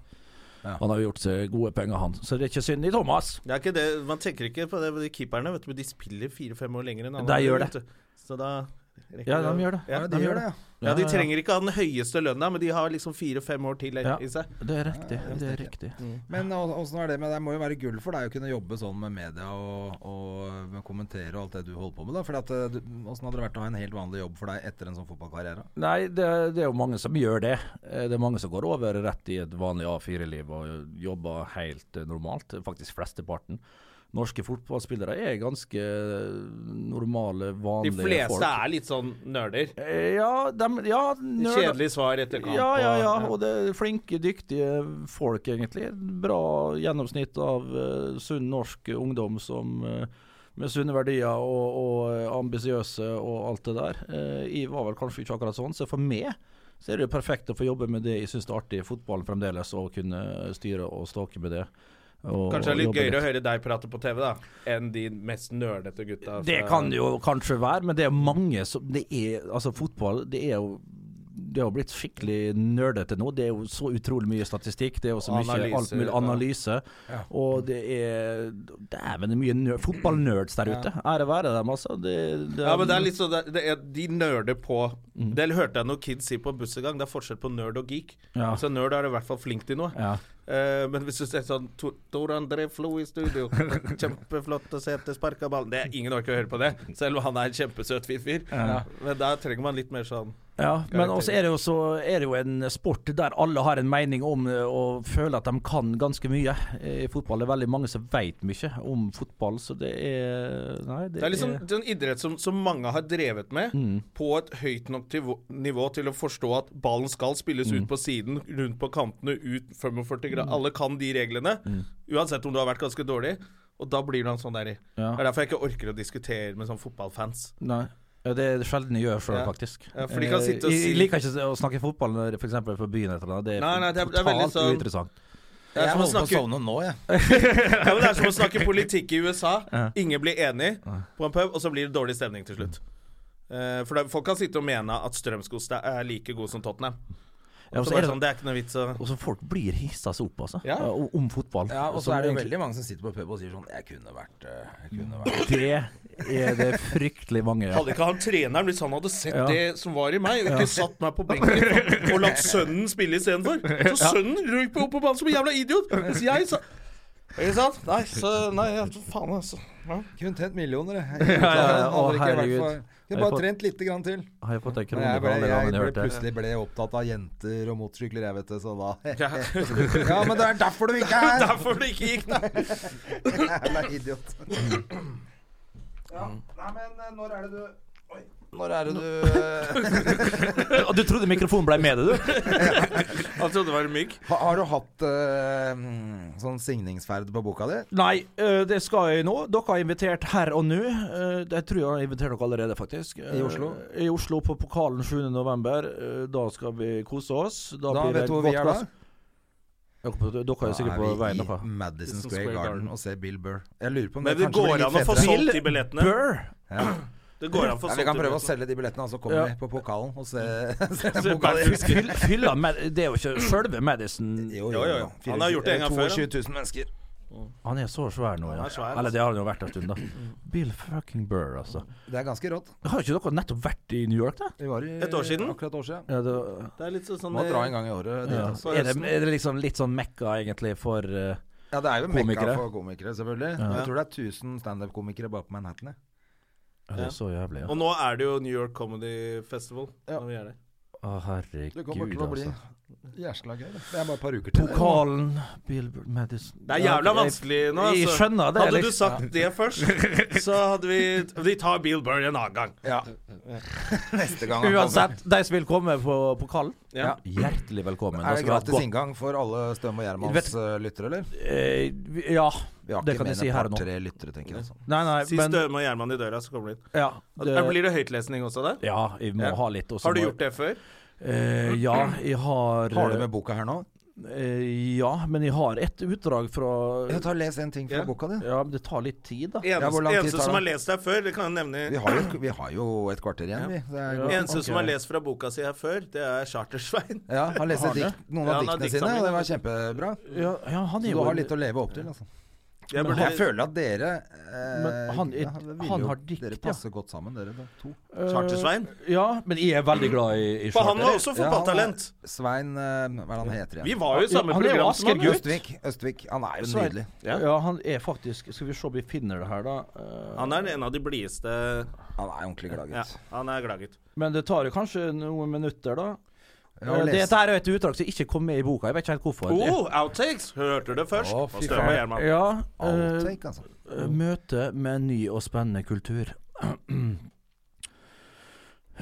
Ja. Han har jo gjort seg gode penger, han. Så det er ikke synd i Thomas. Det er ikke det, Man tenker ikke på det. men De keeperne vet du, de spiller fire-fem år lenger enn De gjør det. vet du. Så da rekker Ja, det. de gjør det. Ja, ja, de gjør det, ja. Ja, De Ja, ja. trenger ikke ha den høyeste lønna, men de har liksom fire-fem år til Ja. i seg. Det er riktig. Det er riktig. Men å- åssen er det med Det må jo være gull for deg å kunne jobbe sånn med media og, og med kommentere og alt det du holder på med, da. For åssen hadde det vært å ha en helt vanlig jobb for deg etter en sånn fotballkarriere? Nei, det, det er jo mange som gjør det. Eh, Det er mange som går over rett i et vanlig A4-liv og jobber helt eh, normalt. Faktisk flesteparten. Norske fotballspillere er ganske normale, De vanlige folk. fleste er litt sånn nerder. Eh, Ja, dem- ja nerder- Kjedelig svar etter kamp. Ja, ja, ja. og- Og det er flinke, dyktige folk, egentlig. Bra gjennomsnitt av eh, sunn norsk ungdom som eh, med sunne verdier og, og eh, ambisiøse og alt det der. Eh, jeg var vel kanskje ikke akkurat sånn, så for meg så er det jo perfekt å få jobbe med det jeg syns er artig i fotballen fremdeles, og kunne styre og ståke med det. Kanskje og- det er og litt jobbe gøyere å høre deg prate på TV da enn de mest nerdete gutta. det fra- kan det jo kanskje være, men det er mange som det er, Altså, fotball, det er jo det har blitt skikkelig nerdete nå. Det er jo så utrolig mye statistikk. Det er jo så mye Analyser, alt mulig analyse. Og det er Dæven, det er mye nerd, fotballnerds der ute. Ære være dem, altså. Det, det Ja, men det er litt sånn det- det er, De nerder på Mm. Det hørte jeg noen kids si på buss en gang. Det er forskjell på nerd og geek. Ja. Altså Nerd er i hvert fall flink til noe. ja. Eh, men hvis du ser sånn Tor Tor André Flo i studio, kjempeflott å se til sparka ballen Det er Ingen orker å høre på det, selv om han er en kjempesøt, fin fyr. Men da trenger man litt mer sånn Ja, men Garantert. også er det, jo så, er det jo en sport der alle har en mening om eh, og føler at de kan ganske mye. Eh, I fotball er det veldig mange som veit mye om fotball, så det er Nei, det, Det er liksom en idrett som, som mange har drevet med, på et høyt nok tivo- nivå til å forstå at ballen skal spilles ut på siden, rundt på kantene, ut 45 grader. Alle kan de reglene, uansett om du har vært ganske dårlig. Og da blir det en sånn der Ja. Det er derfor jeg ikke orker å diskutere med sånn fotballfans. Nei. Ja, Det er det sjelden jeg gjør sjøl, Ja. faktisk. Ja, for de kan Eh, sitte og jeg, si- jeg liker ikke å snakke fotball når for eksempel på byen etter det. Det er, Nei, nei, det er- det er veldig totalt sånn- uinteressant. Det er, Jeg som å holder på sånn. å snakke, sovne nå, jeg. ja, men det er som å snakke politikk i USA. Ingen blir enig på en pub, og så blir det dårlig stemning til slutt. Eh, for det, Folk kan sitte og mene at Strømsgodt er like god som Tottenham. Ja, og Så så bare er det sånn, det er ikke noe vits å Og så folk blir hissa seg opp, altså. Ja. eh, o- Om fotball. Ja, og Som så er det jo egentlig- veldig mange som sitter på pub og sier sånn Jeg kunne vært eh, jeg kunne vært. Det er det fryktelig mange. Ja. Hadde ikke han treneren, hvis han hadde sett Ja. det som var i meg, og ikke satt meg på benken og latt sønnen spille istedenfor Så sønnen røyk på, opp på banen som en jævla idiot! Mens jeg sa Ikke sant? Nei, så Nei, ja, faen, altså. Ja. Kunne tjent millioner, jeg. ja, ja. Hadde Å, ikke vært herregud. for- Kunne Jeg bare får- trent lite grann til. Har jeg fått ei Men krone jeg for ble, alle jeg gangene jeg ble hørte det? plutselig ble opptatt av jenter og motorsykler, jeg, vet det, så da Ja. Ja, men det er derfor du ikke er her! Derfor det ikke gikk, da. Jævla idiot. Ja, nei, men eh, når er det du Oi. Når er det du Å, Du trodde mikrofonen ble med deg, du? Han trodde det var en mygg. Ha, Har du hatt eh, mm, sånn signingsferd på boka di? Nei, eh, det skal jeg nå. Dere har invitert her og nå. Eh, Jeg tror jeg har invitert dere allerede, faktisk. Eh, I Oslo? I Oslo på pokalen 7. november. Eh, Da skal vi kose oss. Da blir det vet du hvor vi godt er da? glass. Dere dere er sikkert på veien, dere. i Madison Madison Square Square Garden Garden. og ser Bill Burr. Jeg lurer på om Men det det kanskje går blir an å litt få fetere. solgt de billettene. Burr! Ja. Det går an å få Ja, solgt vi de kan prøve å billettene. selge de billettene, og så kommer Ja. vi på pokalen og se, se Se pokalen. Bernt Hulsker. Fyll- Fylla med Det er jo ikke sjølve Madison Jo, Jo, jo, jo. Han har gjort det en gang før, han. 22 000 mennesker. Han er så svær altså. nå, ja. Han er svær, Eller det har han jo vært en stund, da. Bill fucking Burr, altså. Det er ganske rått. Har ikke dere nettopp vært i New York, da? Vi var i Et år siden? akkurat et år siden. Ja, det, Det er litt sånn Må dra en gang i året. dit, ja. altså. på Er, det, høsten. er det liksom litt sånn mekka, egentlig, for eh, Ja, det er jo Komikere. mekka for komikere, selvfølgelig. Ja. Jeg tror det er 1000 standup-komikere bare på Manhattan. jeg. Ja, det er så jævlig, ja. eh, Og nå er det jo New York Comedy Festival. Ja. Når vi er der. Å, Det kommer herregud, til å bli altså. jæsla gøy. Det Det er bare et par uker til. Pokalen, Bill Burr, Madison Det er jævla vanskelig nå, Jeg, jeg altså. skjønner det. Hadde du liksom. sagt det først, så hadde vi Vi tar Bill Burr en annen gang. Ja. Neste gang. Uansett, de som vil komme på pokalen, Ja. hjertelig velkommen. Er det skal altså, vi gratis ha et inngang for alle Støm og Gjermans Vet- eh, lyttere, eller? godt- Eh, vi- Ja, Vi har det ikke kan mer jeg si enn her et og nå. par-tre lyttere, tenker jeg. altså. Nei, nei, Si men Støme og Gjerman i døra, så kommer du inn. ja, Det... Blir det høytlesning også der? Ja, vi må Ja. ha litt. og så Har du må- gjort det før? Eh, ja, jeg har Har du med boka her nå? eh, Ja, men jeg har et utdrag fra Jeg tar Les en ting fra Ja. boka di. Ja, men det tar litt tid, da. Eneste, Ja, hvor lang tid eneste tar som det? har lest deg før, det kan jeg nevne Vi har jo, vi har jo et kvarter igjen, vi. Det er godt. Eneste ok. som har lest fra boka si her før, det er Chartersveien. Ja, har lest et det? dikt, noen Ja, han av har diktene dikta sine, mine. og det var kjempebra. Ja, ja han er Så du jo har litt å leve opp til, altså. Jeg Men burde- jeg føler at dere eh, Men han- ja, han ville har jo- dikt, Dere ja. passer godt sammen, dere da, to. Chartersveien. Ja, men jeg er veldig glad i, i For han var charter. også Ja, han er- fotballtalent. Svein eh, Hva er det han heter Vi igjen? var jo i samme Ja, han er jo program Asker som han. Gutt. Østvik. Østvik. Han er jo Svein. nydelig. Ja. han er faktisk Skal vi se om vi finner det her, da. Eh, Han er en av de blideste Han er ordentlig glad, Ja, gutt. han er gladgutt. Men det tar jo kanskje noen minutter, da. Jeg har Eh, lest- Dette her er jo et utdrag som ikke kom med i boka. Jeg vet ikke helt hvorfor. Oh, outtakes! Hørte du det først? Å, Oh, fy Støme faen. Gjerman. Ja. eh, Outtake, altså. Eh, Møte med ny og spennende kultur.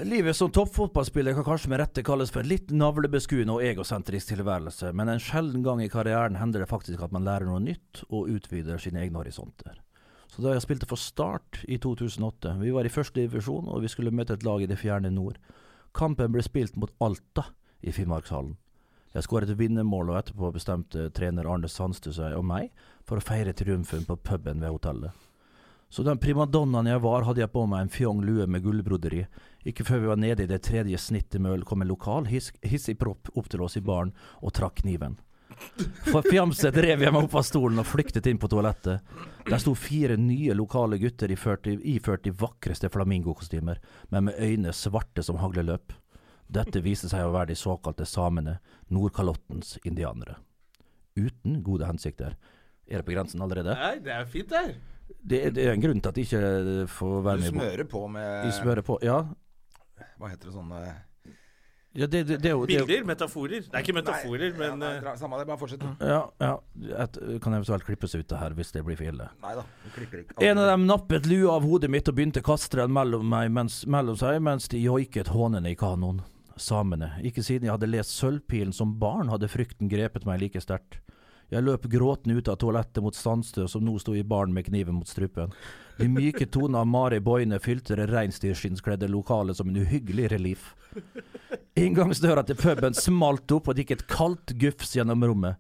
Livet som toppfotballspiller kan kanskje med rette kalles for en litt navlebeskuende og egosentrisk tilværelse, men en sjelden gang i karrieren hender det faktisk at man lærer noe nytt og utvider sine egne horisonter. Så da jeg spilte for Start i 2008, vi var i første divisjon og vi skulle møte et lag i det fjerne nord. Kampen ble spilt mot Alta i Finnmarkshallen. Jeg skåret vinnermål, og etterpå bestemte trener Arne Sandstø seg og meg for å feire triumfen på puben ved hotellet. Så den primadonnaen jeg var, hadde jeg på meg en fjong lue med gullbroderi. Ikke før vi var nede i det tredje snittet med øl, kom en lokal hiss- hissig propp opp til oss i baren og trakk kniven. Forfjamset rev jeg meg opp av stolen og flyktet inn på toalettet. Der sto fire nye lokale gutter iført i, iført de vakreste flamingokostymer, men med øyne svarte som hagleløp. Dette viste seg å være de såkalte samene, Nordkalottens indianere. Uten gode hensikter. Er det på grensen allerede? Nei, det er fint, der. Det, det er en grunn til at de ikke får Du være med i bo- smører eh, på de med smører på. Ja, Hva heter det sånne ja det, det, det er jo det er jo- Bilder? Metaforer? Det er ikke metaforer, Ja, men nei, eh, dra- Samme det, bare fortsett. Ja, ja. Et, kan eventuelt klippes ut det her hvis det blir for ille. Nei da, du klikker ikke. En av dem nappet lua av hodet mitt og begynte å kaste den mellom, meg mens, mellom seg mens de joiket hånene i kanoen. Samene. Ikke siden jeg hadde lest Sølvpilen som barn, hadde frykten grepet meg like sterkt. Jeg løp gråtende ut av toalettet mot Sandstø, som nå sto i baren med kniven mot strupen. De myke tonene av Mari Boine fylte det reinsdyrskinnskledde lokalet som en uhyggelig relief. Inngangsdøra til puben smalt opp, og det gikk et kaldt gufs gjennom rommet.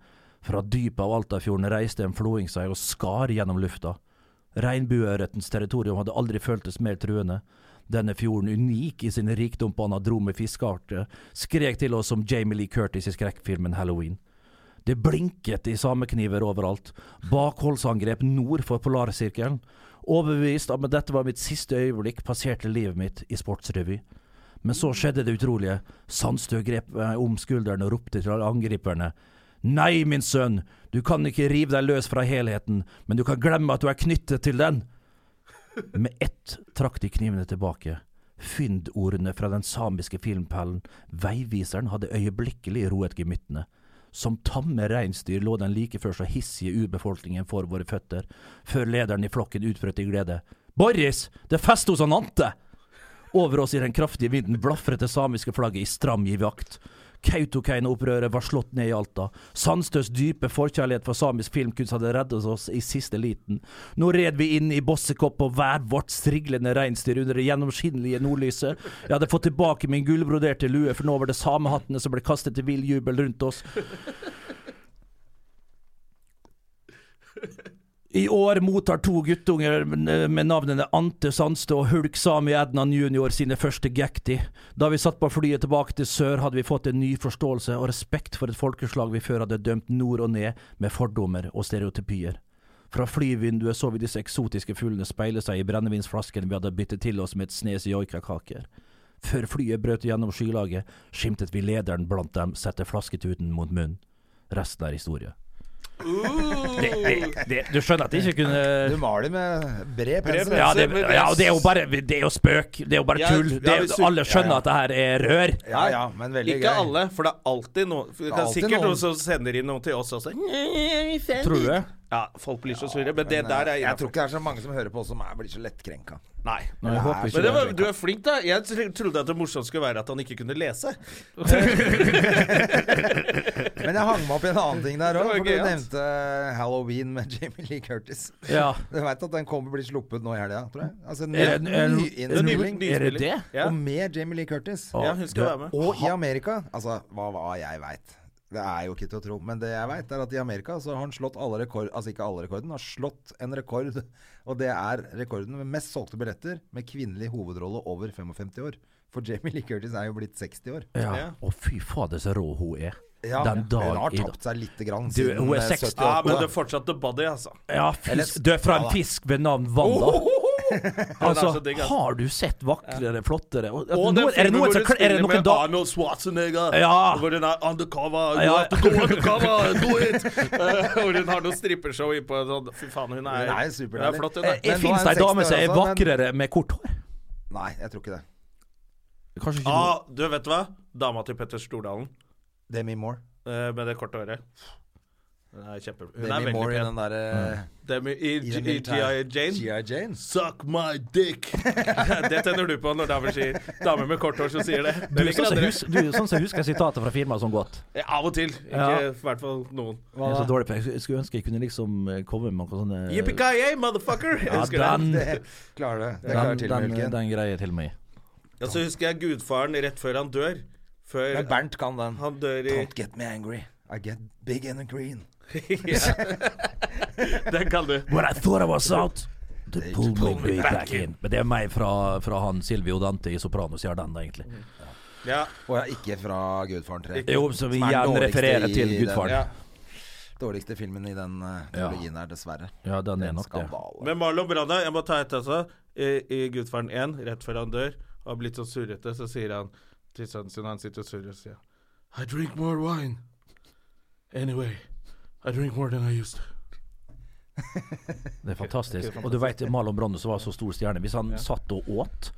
Fra dypet av Altafjorden reiste en flåing seg og skar gjennom lufta. Regnbueørretens territorium hadde aldri føltes mer truende. denne fjorden unik i sin rikdom på anadrome fiskearter, skrek til oss som Jamie Lee Curtis i skrekkfilmen Halloween. Det blinket i samekniver overalt. Bakholdsangrep nord for polarsirkelen. Overbevist om at dette var mitt siste øyeblikk, passerte livet mitt i sportsrevy. Men så skjedde det utrolige. Sandstø grep meg om skulderen og ropte til angriperne. Nei, min sønn, du kan ikke rive deg løs fra helheten, men du kan glemme at du er knyttet til den. Med ett trakk de knivene tilbake. Fyndordene fra den samiske filmperlen Veiviseren hadde øyeblikkelig roet gemyttene. Som tamme reinsdyr lå den like før så hissige urbefolkningen for våre føtter, før lederen i flokken utbrøt i glede. Boris, det er fest hos han Ante! Over oss i den kraftige vinden blafret det samiske flagget i stram givakt. Kautokeino-opprøret var slått ned i Alta. Sandstøs dype forkjærlighet for samisk filmkunst hadde reddet oss i siste liten. Nå red vi inn i bossekopp på hver vårt striglende reinsdyr under det gjennomskinnelige nordlyset. Jeg hadde fått tilbake min gullbroderte lue, for nå var det samehattene som ble kastet i vill jubel rundt oss. I år mottar to guttunger med navnene Ante Sandstø og Hulk Sami Ednan jr. sine første gekti. Da vi satt på flyet tilbake til sør, hadde vi fått en ny forståelse og respekt for et folkeslag vi før hadde dømt nord og ned med fordommer og stereotypier. Fra flyvinduet så vi disse eksotiske fuglene speile seg i brennevinsflaskene vi hadde byttet til oss med et snes joikakaker. Før flyet brøt gjennom skylaget, skimtet vi lederen blant dem sette flasketuten mot munnen. Resten er historie. Det, det, det, du skjønner at jeg ikke kunne Du maler med bred pensel. ja, det, ja, og det er jo bare Det er jo spøk. Det er jo bare Ja, tull. ja, Det er, hvis du- alle skjønner at det her er rør. Ja, ja, men veldig Ikke gøy. alle, for det er alltid noen Det Det er er alltid sikkert noen. noen som sender inn noe til oss også. Tror du det? Ja, folk blir så sure, men det der er eh, Jeg tror ikke det er så mange som hører på oss som er, blir så lettkrenka. Nei. Nei, jeg håper ikke Men det var, det. du er flink, da. Jeg tr- trodde at det morsomt skulle være at han ikke kunne lese. Men jeg hang meg opp i en annen ting der òg, var for du gøy, ass. nevnte eh, Halloween med Jamie Lee Curtis. Ja. Du veit at den kommer bli sluppet nå i helga, tror jeg. Altså, ny, Er det- er det- nyinnspilling. ny- Er det det? Ja, Og med Jamie Lee Curtis. ja hun skal være med. Og i Amerika Altså, hva, hva jeg veit. Det er jo ikke til å tro. Men det jeg veit, er at i Amerika så har han slått alle rekord... Altså ikke alle rekorden, har slått en rekord. Og det er rekorden med mest solgte billetter med kvinnelig hovedrolle over 55 år. For Jamie Lee Curtis er jo blitt 60 år. Ja. Å, fy fader, så rå hun er. Ja, Den Hun dag har i dag. tapt seg lite grann Du, siden hun er eh, 60 Ja, 78. men da. det er fortsatt the body, altså. Ja, fisk. Du er fra en fisk ved navn Wanda. Den Oh, er så Altså, digg, ass. har du sett vakrere, flottere Og- Og nå- den Er det filmen noen hvor som hun Er det spiller noen med da Arnold Schwarzenegger. Ja. Hvor hun er undercover. You Ja. have to go undercover, do it! Eh, Hvor hun har noe strippeshow innpå en sånn Fy faen, hun er Hun er superdeilig. Hun er flott, hun Eh, er. eh, Men nå Fins er det ei hun dame 60 som er år også, men- vakrere med kort hår? Nei, jeg tror ikke det. Kanskje ikke noe. Ah, du vet du hva? Dama til Petter Stordalen Demi Moore. eh, med det korte håret. Hun er kjempe... Hun er Demi veldig Moore i pen. den derre Mm. Demi i, I den G- i G.I. militære- Jane. G.I. Jane. Suck my dick! det tenner du på når damer, sier, damer med kort hår som sier det. Du det er liker sånn som andre. husker- du er sånn som husker sitatet fra firmaet som godt. Ja, Av og til. Ikke Ja. i hvert fall noen. Jeg er så dårlig på Jeg skulle- jeg skulle ønske jeg kunne liksom eh, komme med noen sånne Yippee-ki-yay, motherfucker! Jeg Ja, husker det. den, Det klarer det. Det klarer eh, den, til og med den, Hulken. den greier til meg. Ja, så husker jeg gudfaren rett før han dør. Før Men Bernt kan den. han dør i Don't get me angry. I get big and green. Den kan du. When I thought I was out They pulled me pulled me right back back in. Men det er meg fra, fra han Silvio Dante i Sopranos gjør den, egentlig. Ja, Og jeg er ikke fra Gudfaren 3. Jo, som Som er igjen dårligste refererer i til den. ja. Gudfaren. Dårligste filmen i den eh, trilogien her, dessverre. Ja, den er En nok det. skandale. Men Marlon Brando, jeg må ta et altså. I, i Gudfaren 1, rett før han dør, og har blitt så surrete, så sier han til sønnen sin Han sitter surr og sier I drink more wine. Anyway, I drink more than I used to. Det er fantastisk. Og du veit Marlon Brando som var så stor stjerne. Hvis han satt og åt,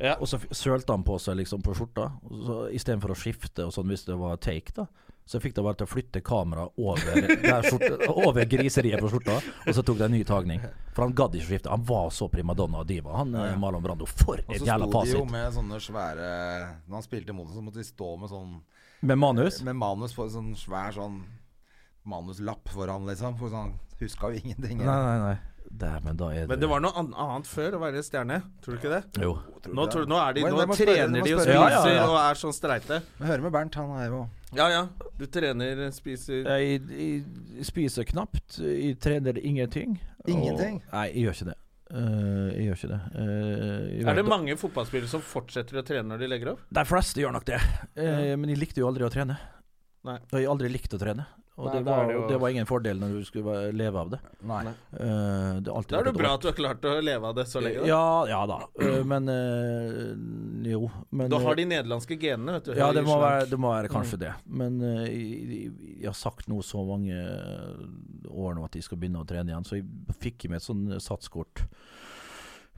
Ja. og så f- sølte han på seg liksom på skjorta, og så istedenfor å skifte og sånn hvis det var take, da. Så fikk de bare til å flytte kameraet over, der skjorta- over griseriet på skjorta, og så tok de en ny tagning. For han gadd ikke å skifte. Han var så primadonna og diva, han eh, Marlon Brando. For Og et så jævla sto de jo fasit. med sånne svære Når han spilte imot, så måtte de stå med sånn Med manus? Med manus for sånn svær sånn manuslapp foran, liksom. For sånn huska jo ingenting. Nei, nei, nei. Dæven, da er det Men det var noe an- annet før å være stjerne, tror du ikke det? Jo. Nå, tror, nå, er de, Oi, nå det må spørre- det trener må de og spørre- spiser Ja, ja, ja. og er sånn streite. Men hører med Bernt, han er jo Ja ja, du trener, spiser Jeg, jeg spiser knapt, jeg trener ingenting. Ingenting? Og, nei, jeg gjør ikke det. Eh, jeg gjør ikke det. Eh, jeg Er det vet- mange fotballspillere som fortsetter å trene når de legger opp? De fleste gjør nok det. Eh, Men jeg likte jo aldri å trene. Nei. Og jeg har aldri likt å trene. Og Nei, det, da er var, det det, jo- var ingen fordel når du skulle være- leve av det. Nei. Eh, det har alltid Da er vært det et bra år. at du har klart å leve av det så lenge. Da. Ja, ja da. Eh, Men eh, jo. Men, Du har de nederlandske genene, vet du. ja, det må, Høy være, slank. det må Mm. være kanskje det. Men eh, jeg, jeg- jeg har sagt nå så mange eh, år nå at jeg skal begynne å trene igjen, så jeg fikk med et sånn satskort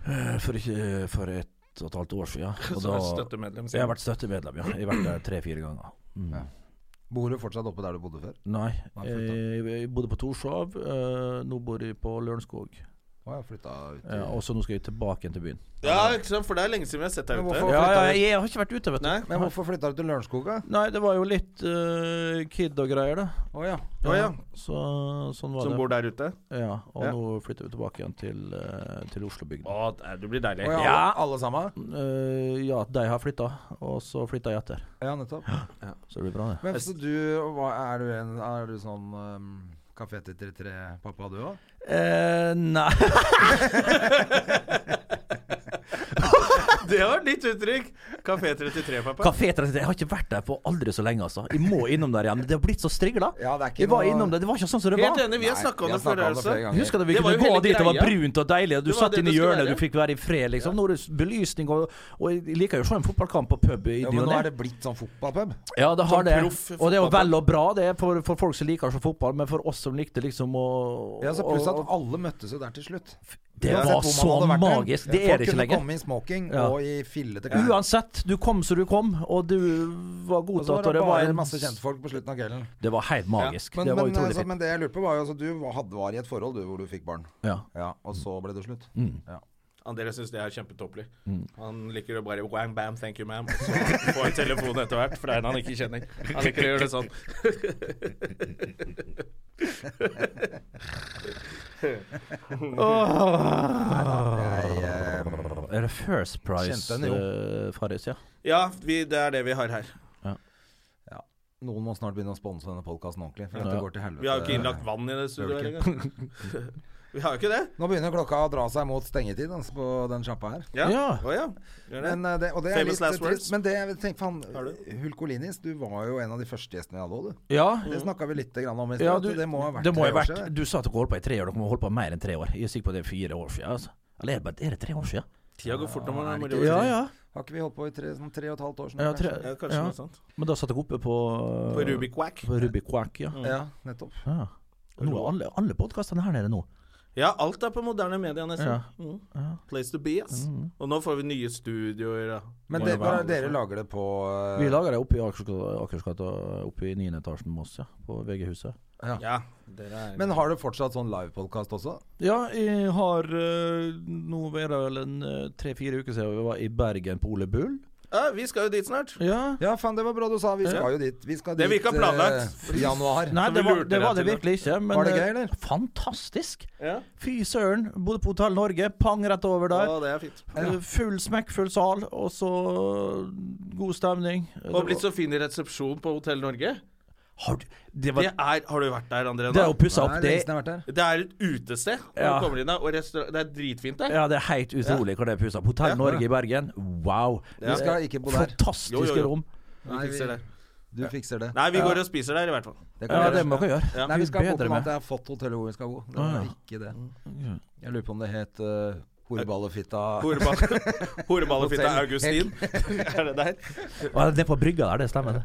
eh, for, ikke, for et og et halvt år siden. Og Som et da, støttemedlem. jeg har vært støttemedlem, ja. Jeg har vært der tre-fire ganger. Mm. Ja. Bor du fortsatt oppe der du bodde før? Nei, eh, Nei, flytta. jeg, jeg bodde på Torshov. eh, nå bor jeg på Lørenskog. Å, jeg flytta ut. Eh, og så nå skal jeg tilbake igjen til byen. Ja, ikke sant, for det er lenge siden vi har sett deg Men ute. hvorfor- Ja, ja, flytta jeg, jeg har ikke vært ute, vet du. Nei? Men hvorfor flytta du til Lørenskog, da? Nei, det var jo litt eh, kid og greier, da. Å ja. Å ja. Så, sånn var Som det. bor der ute? Ja, og Ja. nå flytter vi tilbake igjen til, eh, til Oslobygda. Å, det det blir deilig. Å, ja. Ja. Alle sammen? Eh, ja, de har flytta, og så flytta jeg etter. Ja, nettopp. Så det blir bra, det. Men så du, hva, er, du en, er du sånn um, Kafé til 33-pappa, du òg? Eh, nei Det var ditt uttrykk! Kafé 33, pappa. Kafé 33, jeg har ikke vært der på aldri så lenge, altså. Jeg må innom der igjen. Det har blitt så strigla. Ja, det er ikke jeg var noe- innom det, det var ikke sånn som det var. Helt enig, vi har snakka om det før. Altså. Jeg Husker du vi Det var jo kunne gå hele dit det var greia. brunt og deilig, og du Det var satt det inne i det skulle hjørnet, være. du fikk være i fred, liksom. Nå er det belysning, og, og jeg liker jo å se en fotballkamp på pub i Ja, ny men nå og er ne. det blitt sånn fotballpub. Ja, det har sånn det. proff Og det er jo fotballkamp. vel og bra, det, er for, for folk som liker å se fotball, men for oss som likte liksom å Ja, så Pluss at å- alle møttes jo der til slutt. Det Uansett hvor var man så hadde vært der. magisk. Det er det ikke Folk kunne lenger. komme i smoking Ja. og i fillete klær. Uansett, du kom som du kom, og du var Og så var godtatt, og det det var bare en masse kjentfolk på slutten av kvelden. Det var helt magisk. Men, Det var men, utrolig altså, fint. men det jeg lurer på, var jo altså Du var- hadde, var i et forhold du, hvor du fikk barn. Ja. Mm. Ja, Og så ble det slutt. Ja. Andreas syns det er kjempetåpelig. Han liker å bare wang bam, thank you ma'am. Og så får han telefon etter hvert fra en han ikke kjenner. Han liker å gjøre det sånn. Jeg, eh, Er det First Price, Kjente henne, jo. eh, Farris? Ja. Ja, vi, det er det vi har her. noen må snart begynne å sponse denne podkasten ordentlig. For Ja. dette går til helvete. Vi har jo ikke innlagt vann i det studioet her engang. Vi har jo ikke det. Nå begynner klokka å dra seg mot stengetid altså, på den sjappa her. Ja. Ja. Å ja. Gjør det. Men, eh, det, og det er Famous litt last trist. words. Men det, jeg tenker, faen, Har Hulkolinis, du var jo en av de første gjestene vi hadde òg, du. ja. Det snakka vi litt grann om i sted. Ja, at det må ha vært det må tre ha år vært- siden. Du sa at dere holdt på i tre år. Dere må holde på mer enn tre år. Jeg er sikker på det er fire år siden. Altså. Eller er det, bare, er det tre år siden? Tida går fort når man er moro. ja. Har ikke vi holdt på i tre, sånn tre og et halvt år snart? Ja, tre, Ja, kanskje ja. noe sånt. Men da satt dere oppe på eh, På Rubik Wack. På Rubik Mm. Quack, ja. kanskje? Ja, nettopp. ja. Og Nå er alle, alle podkastene her nede nå. Ja, alt er på moderne media nesten. Ja. Mm. Mm. Place to be, ass. Og nå får vi nye studioer. da. Men Må det, jo være- dere lager det på eh, Vi lager det oppe i Akersgata, Akersgata oppe i 9. etasjen med oss, ja. På VG-huset. Ja, dere er Men har du fortsatt sånn livepodkast også? Ja, jeg har eh, Nå er det vel en eh, tre-fire uker siden vi var i Bergen på Ole Bull. ja, Vi skal jo dit snart. Ja. Ja, faen, det var bra du sa. Vi skal jo dit. Vi skal dit Det vi ikke har planlagt. eh, i januar. Nei, Så vi det var lurte det, deg var det til det. virkelig ikke. Men Var det gøy, eh, eller? Fantastisk! Ja. Fy søren. Bodde på Hotell Norge. Pang rett over der. Å, det er fint. Eh, Full smekkfull sal, og så god stemning. Og blitt så fin i resepsjon på Hotell Norge. Har du Det, var, Det er, har du vært der, André? det er nå? jo Nei, pussa opp. lenge Det, siden jeg har vært der. Det er et utested. Når Ja. du kommer inn der, og restaur- Det er dritfint der. ja, det er helt utrolig hvor det er pussa opp. Hotell Ja. Norge i Bergen, wow. Vi skal ikke bo der. Jo, jo, Fantastiske jo. rom. Nei, Vi fikser det. Du fikser det. Nei, vi går og spiser der, i hvert fall. Det Ja, vi det gjøre. må dere gjøre. Ja. Nei, vi skal Bedre håpe på med. at jeg har fått hotellet hvor vi skal bo. Det Å, var ja. ikke det. Jeg lurer på om det het uh, Horballefitta Horeba- Horeballefitta Hotell. Augustin. er det der? Ja, det er på brygga der, det stemmer. det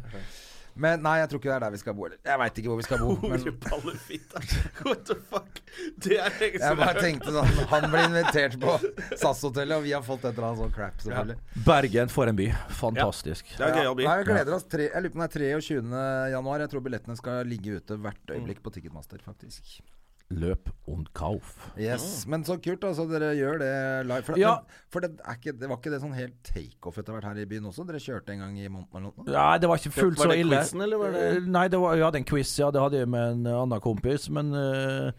Men nei, jeg tror ikke det er der vi skal bo. Eller. Jeg veit ikke hvor vi skal bo. Men Horeballefitta. What the fuck? Det er lenge jeg siden bare jeg har hørt. tenkte sånn Han ble invitert på SAS-hotellet, og vi har fått et eller annet sånn crap, selvfølgelig. Bergen, for en by. Fantastisk. Det er gøyal by. Nei, jeg gleder oss. Tre, jeg lurer på om det er 23. januar. Jeg tror billettene skal ligge ute hvert øyeblikk på Ticketmaster, faktisk. Løp und kauf. Yes, Men så kult, altså. Dere gjør det live. For, Ja. men, for det, er ikke, det var ikke det sånn helt takeoff etter hvert her i byen også? Dere kjørte en gang i måneden eller noe? Nei, det var ikke fullt Var så det ille. quizen, eller var det- Eh, Nei, det var, jeg hadde en quiz, ja. Det hadde jeg med en eh, annen kompis, men eh,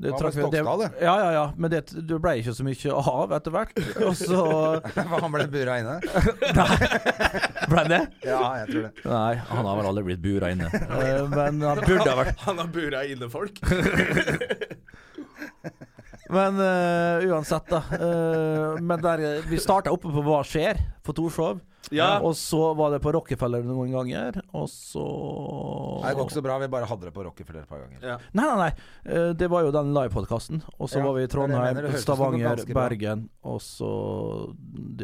det Hva med trakk vi- Stokstad, det? Ja, ja, ja. Men det, det ble ikke så mye av etter hvert. Og så For han ble bura inne? ble det Ja, jeg tror det. Nei, han har vel aldri blitt bura inne. Eh, Men han burde ha vært Han har bura inne folk. Men eh, uansett, da. eh, men der, eh, vi starta oppe på Hva skjer? på Torshov. Ja. Og så var det på Rockefeller noen ganger, og så Nei, Det går ikke så bra, vi bare hadde det på Rockefeller et par ganger. Ja. Nei, nei, nei. Eh, Det var jo den livepodkasten. Og så Ja, var vi det er det i jeg Trondheim, mener. Det høres ut som noe Stavanger, ganske bra. Bergen. Og så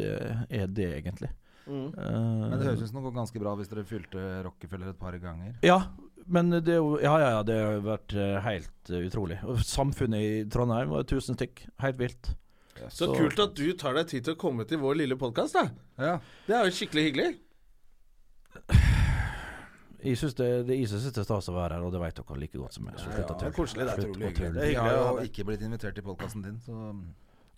Det er det, egentlig. Mm. Eh, Men det høres ut som det går ganske bra hvis dere fylte Rockefeller et par ganger. Ja, men det er jo Ja, ja, ja. Det har vært eh, helt eh, utrolig. Og samfunnet i Trondheim var tusen stykk. Helt vilt. Så kult at du tar deg tid til å komme til vår lille podkast, da. Ja. Det er jo skikkelig hyggelig. Jeg syns det, det, jeg synes det er stas å være her, og det vet dere like godt som meg. Så slutt å Det er tulle. koselig. Det er Slutt å utrolig hyggelig. tulle. Det er Vi har hyggelig å ha jo deg. ikke blitt invitert til podkasten din, så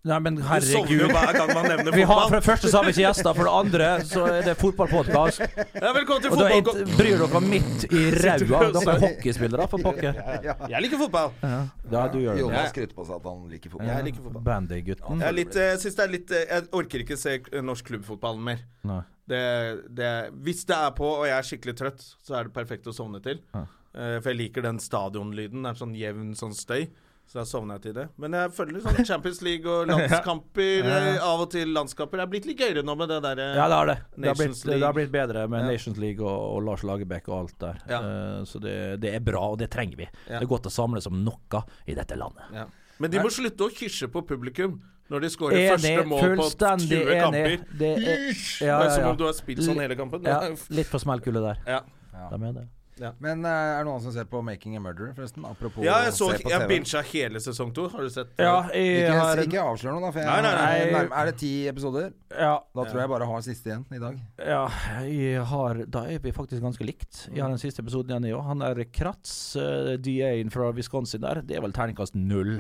Nei, men Du sovner jo herregud. hver gang man nevner Vi har, for fotball. det første så har vi ikke gjester, for det andre så er det fotballpodkast. Ja, velkommen til Og da er- fotball. bryr dere midt i ræva. Dere er hockeyspillere, for pokker. Jeg liker fotball. Ja, du Ja. gjør det. Jonas skryter på seg at han liker fotball. Jeg liker fotball. Bandygutten. Jeg, er litt, eh, synes det er litt, eh, jeg orker ikke se eh, norsk klubbfotball mer. Nei. Det, det, hvis det er på og jeg er skikkelig trøtt, så er det perfekt å sovne til. Eh, for jeg liker den stadionlyden. Det er sånn jevn sånn støy. Så da sovner jeg til det. Men jeg føler litt sånn Champions League og landskamper, eh, av og til landskamper. Det er blitt litt gøyere nå med det eh, derre Ja, det har det. Det har, blitt, Nations det har League. blitt bedre med Nations League og, og Lars Lagerbäck og alt der. Ja. Eh, så det, det er bra, og det trenger vi. Ja. Det er godt å samles om noe i dette landet. Ja. Men de må slutte å kysje på publikum når de skårer første Enig, mål på 20 fullstendig enig. kamper. Det er, Hysj! Det er som om du har spilt sånn hele kampen. Ja, litt for smellkulde der. Ja. Da mener jeg det. Men eh, er det noen som ser på 'Making a Murderer', forresten? Apropos Ja, jeg, så, å se på jeg TV. bincha hele sesong to. Har du sett? Ja, Ikke, jeg har en, ikke avslør noe, da. For jeg, Nei, nei, nei. er nærm- Er det ti episoder? ja, Da tror jeg bare har siste igjen i dag. ja, jeg har Da er vi faktisk ganske likt. Jeg har den siste episoden igjen, jeg òg. Han er Kratz, eh, DA-en fra Wisconsin der. Det er vel terningkast null.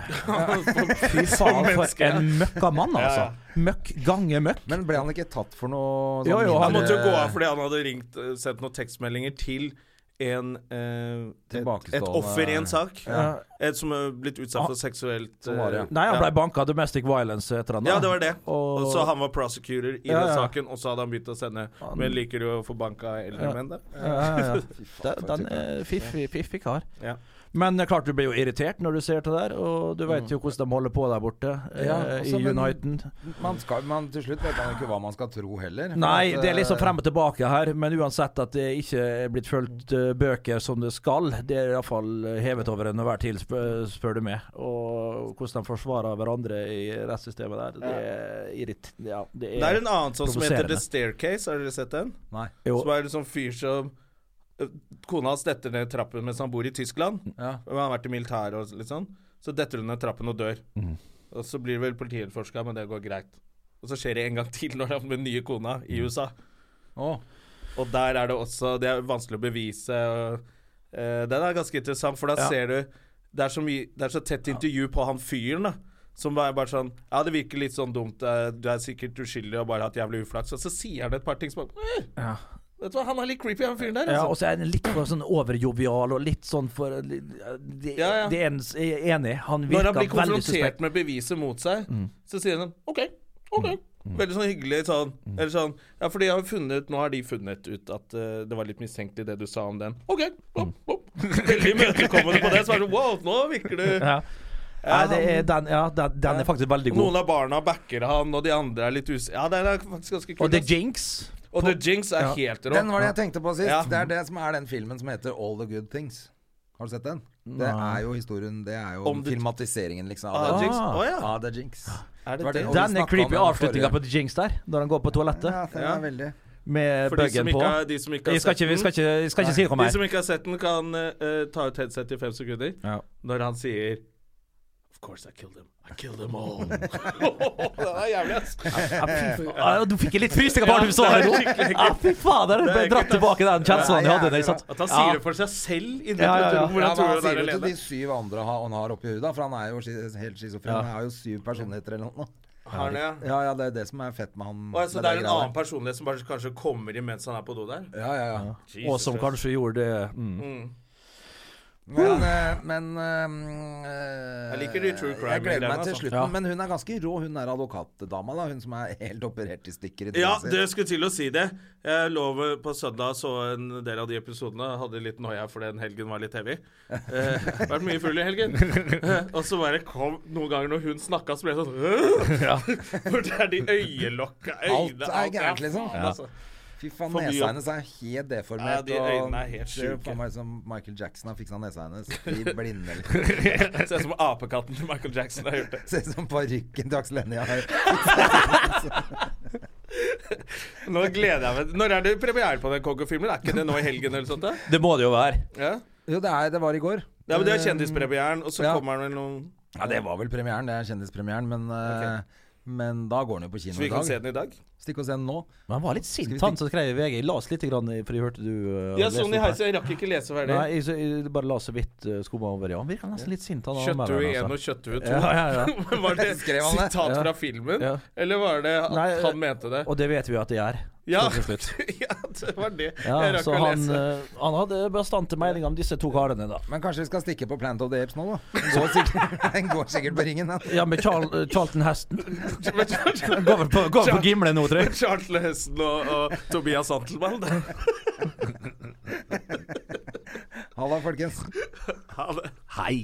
Fy faen, for en møkkamann, altså. Møkk gange møkk. Men ble han ikke tatt for noe sånn Jo, jo, Han mindre- måtte jo gå av fordi han hadde ringt eh, sendt noen tekstmeldinger til en eh, et, Tilbakestående- et offer i en sak. Ja. Ah. Et som er blitt utsatt for seksuelt var det, ja. eh, Eh, Nei, han ble banka domestic violence etter han. da. Ja, det var det. Og- Og så han var prosecutor i Ja, den ja. saken, og så hadde han begynt å sende Men liker du å få banka eldre menn, da? Eh, Ja, ja, ja. Den- Den eh, er fiffig, fiffig kar. Ja. Men det er klart du blir jo irritert når du ser det der, og du vet jo hvordan de holder på der borte eh, Ja, altså, i men- Uniten. Man skal, man, til slutt vet man jo ikke hva man skal tro heller. for Nei, at, det er liksom eh, frem og tilbake her, men uansett at det ikke er blitt fulgt eh, bøker som det skal, det er iallfall eh, hevet over enhver tvil, spør, spør du meg. Og hvordan de forsvarer hverandre i rettssystemet der, det er irrit... Ja, det Det er er en annen sånn som heter Provoserende. The Staircase, har dere sett den? Nei. Jo. Som er en sånn fyr som ø, Kona hans detter ned trappen mens han bor i Tyskland. Ja. Og Han har vært i militæret og litt sånn. Så detter hun ned trappen og dør. Og så blir det vel politietterforska, men det går greit. Og så skjer det en gang til når han med den nye kona i USA. Å. Og der er det også Det er vanskelig å bevise. Og, eh, den er ganske interessant, for da ser du det er, så mye, det er så tett intervju på han fyren, da. Som bare, bare sånn Ja, det virker litt sånn dumt. eh, Du er sikkert uskyldig og bare hatt jævlig uflaks. Og så sier han et par ting som bare «Eh, Vet du hva, han er litt creepy, han fyren der. Ja, og altså. så er den litt for sånn overjovial og litt sånn for Det, Ja, ja. det er en jeg er enig. Han Når virker han blir veldig konfrontert suspekt. Mm. med beviset mot seg, så sier han OK, OK. Veldig sånn hyggelig sånn. Mm. Eller sånn Ja, for de har jo funnet Nå har de funnet ut at eh, det var litt mistenkelig det du sa om den. OK. Mm. Opp, opp. Veldig imøtekommende på det. Så er det sånn Wow, nå virker du Ja. Nei, det er, den, ja, den, den er faktisk veldig Noen god. av barna backer han, og de andre er litt us... Ja, den er faktisk ganske kul. Og The ass. Jinx. og The Jinx er helt rå. Den var det jeg tenkte på sist. Ja. Det er det som er den filmen som heter All the Good Things. Har du sett den? Det er jo historien Det er jo Om det- filmatiseringen, liksom. Av Ah, The Jinx. Jinx. Å ja. Av The Jinx. Er det var det? det- Den er snakket om creepy, den avslutninga forrige. på The Jinx der, når han går på toalettet Ja, den Ja. er veldig med For de som bøggen på. ikke, har- de som ikke har Jeg skal ikke, vi skal ikke, jeg skal ikke si noe De mer. som ikke har sett den, kan eh, ta ut headset i fem sekunder. Ja. Når han sier Of course I killed them. I killed them all. den er jævlig, ass. Ja, Ah, fy faen. Ja, Du fikk litt frysninger bare du så her nå. Ja, fy fader. Jeg ble Det er dratt tilbake den kjenslen jeg hadde. da jeg satt. At han Ja. sier det for seg selv inni Ja, ja, ja, ja. hvor Ja, han men tror han han er sier jo til alene. de syv andre ha- han har oppi huet, da, for han er jo schi- helt schizofren. Han er jo syv personligheter eller noe. Har han, ja. Ja, ja, det er det som er fett med han. Å, ja, så med det er de en greiene. annen personlighet som bare kanskje kommer inn mens han er på do der? Ja, ja, ja. Mm. Og som kanskje gjorde det mm. Men, eh, men eh, Jeg liker de true crime-greiene, Jeg gleder meg til altså. slutten. Ja. Men hun er ganske rå, hun er advokatdama, da. Hun som er helt operert i stykker. i Ja, trynet sitt. det skulle til å si det. Jeg lå på søndag så en del av de episodene. Hadde litt noia for den helgen var litt heavy. Eh, vært mye full i helgen. Eh, og så bare kom noen ganger når hun snakka, så ble jeg sånn For det er de øyelokka øynene Alt er gærent, liksom. faen, altså. Fy For faen, mye. nesa hennes er helt deformert. Ja, de øynene er helt Det er jo sjuke. faen meg som Michael Jackson har fiksa nesa hennes i blinde. eller- Ser ut som apekatten til Michael Jackson har gjort det. Ser ut som parykken til Aksel Hennie har. Nå gleder jeg meg Når er det premiere på den Koggo-filmen? Er ikke det nå i helgen eller sånt? da? Det må det jo være. Ja. Jo, det, er, det var i går. Ja, men Det er kjendispremieren, og så Eh, Ja. kommer den vel noen Ja, det var vel premieren. Det er kjendispremieren, men eh, Men da går den jo på kino Så vi i kan se dag. den i dag. Stikk og se den nå. Men han var litt Skal vi sint, han som skrev i VG. Jeg Las litt, grann, i- for jeg hørte du eh, Ja, leste sånn i opp her. heisen. Jeg rakk ikke lese ferdig. Nei, jeg, jeg bare la så vidt eh, skumma over. Ja, han virker nesten litt sint, han Kjøtthue anmelderen, 1 altså. og Kjøtthue 2. Ja, ja, ja. Men Var det Skrev han det? sitat Ja. fra filmen? Ja. Eller var det at Nei, han mente det? Og det vet vi jo at det er. Ja. til slutt. ja, det var det. jeg Ja, rakk så å han, lese. eh, han hadde bastante meninger om disse to karene, da. Men kanskje vi skal stikke på Plant of the Apes nå, da. Den går sikkert, den går sikkert på ringen, den. Ja, med Charl, eh, Charlton Heston. Men Charles- Går vel på, går vel på Gimle nå, tror jeg. Charles Hesten og, og Tobias Santelmann. det- Halla, folkens. Ha det. Hei.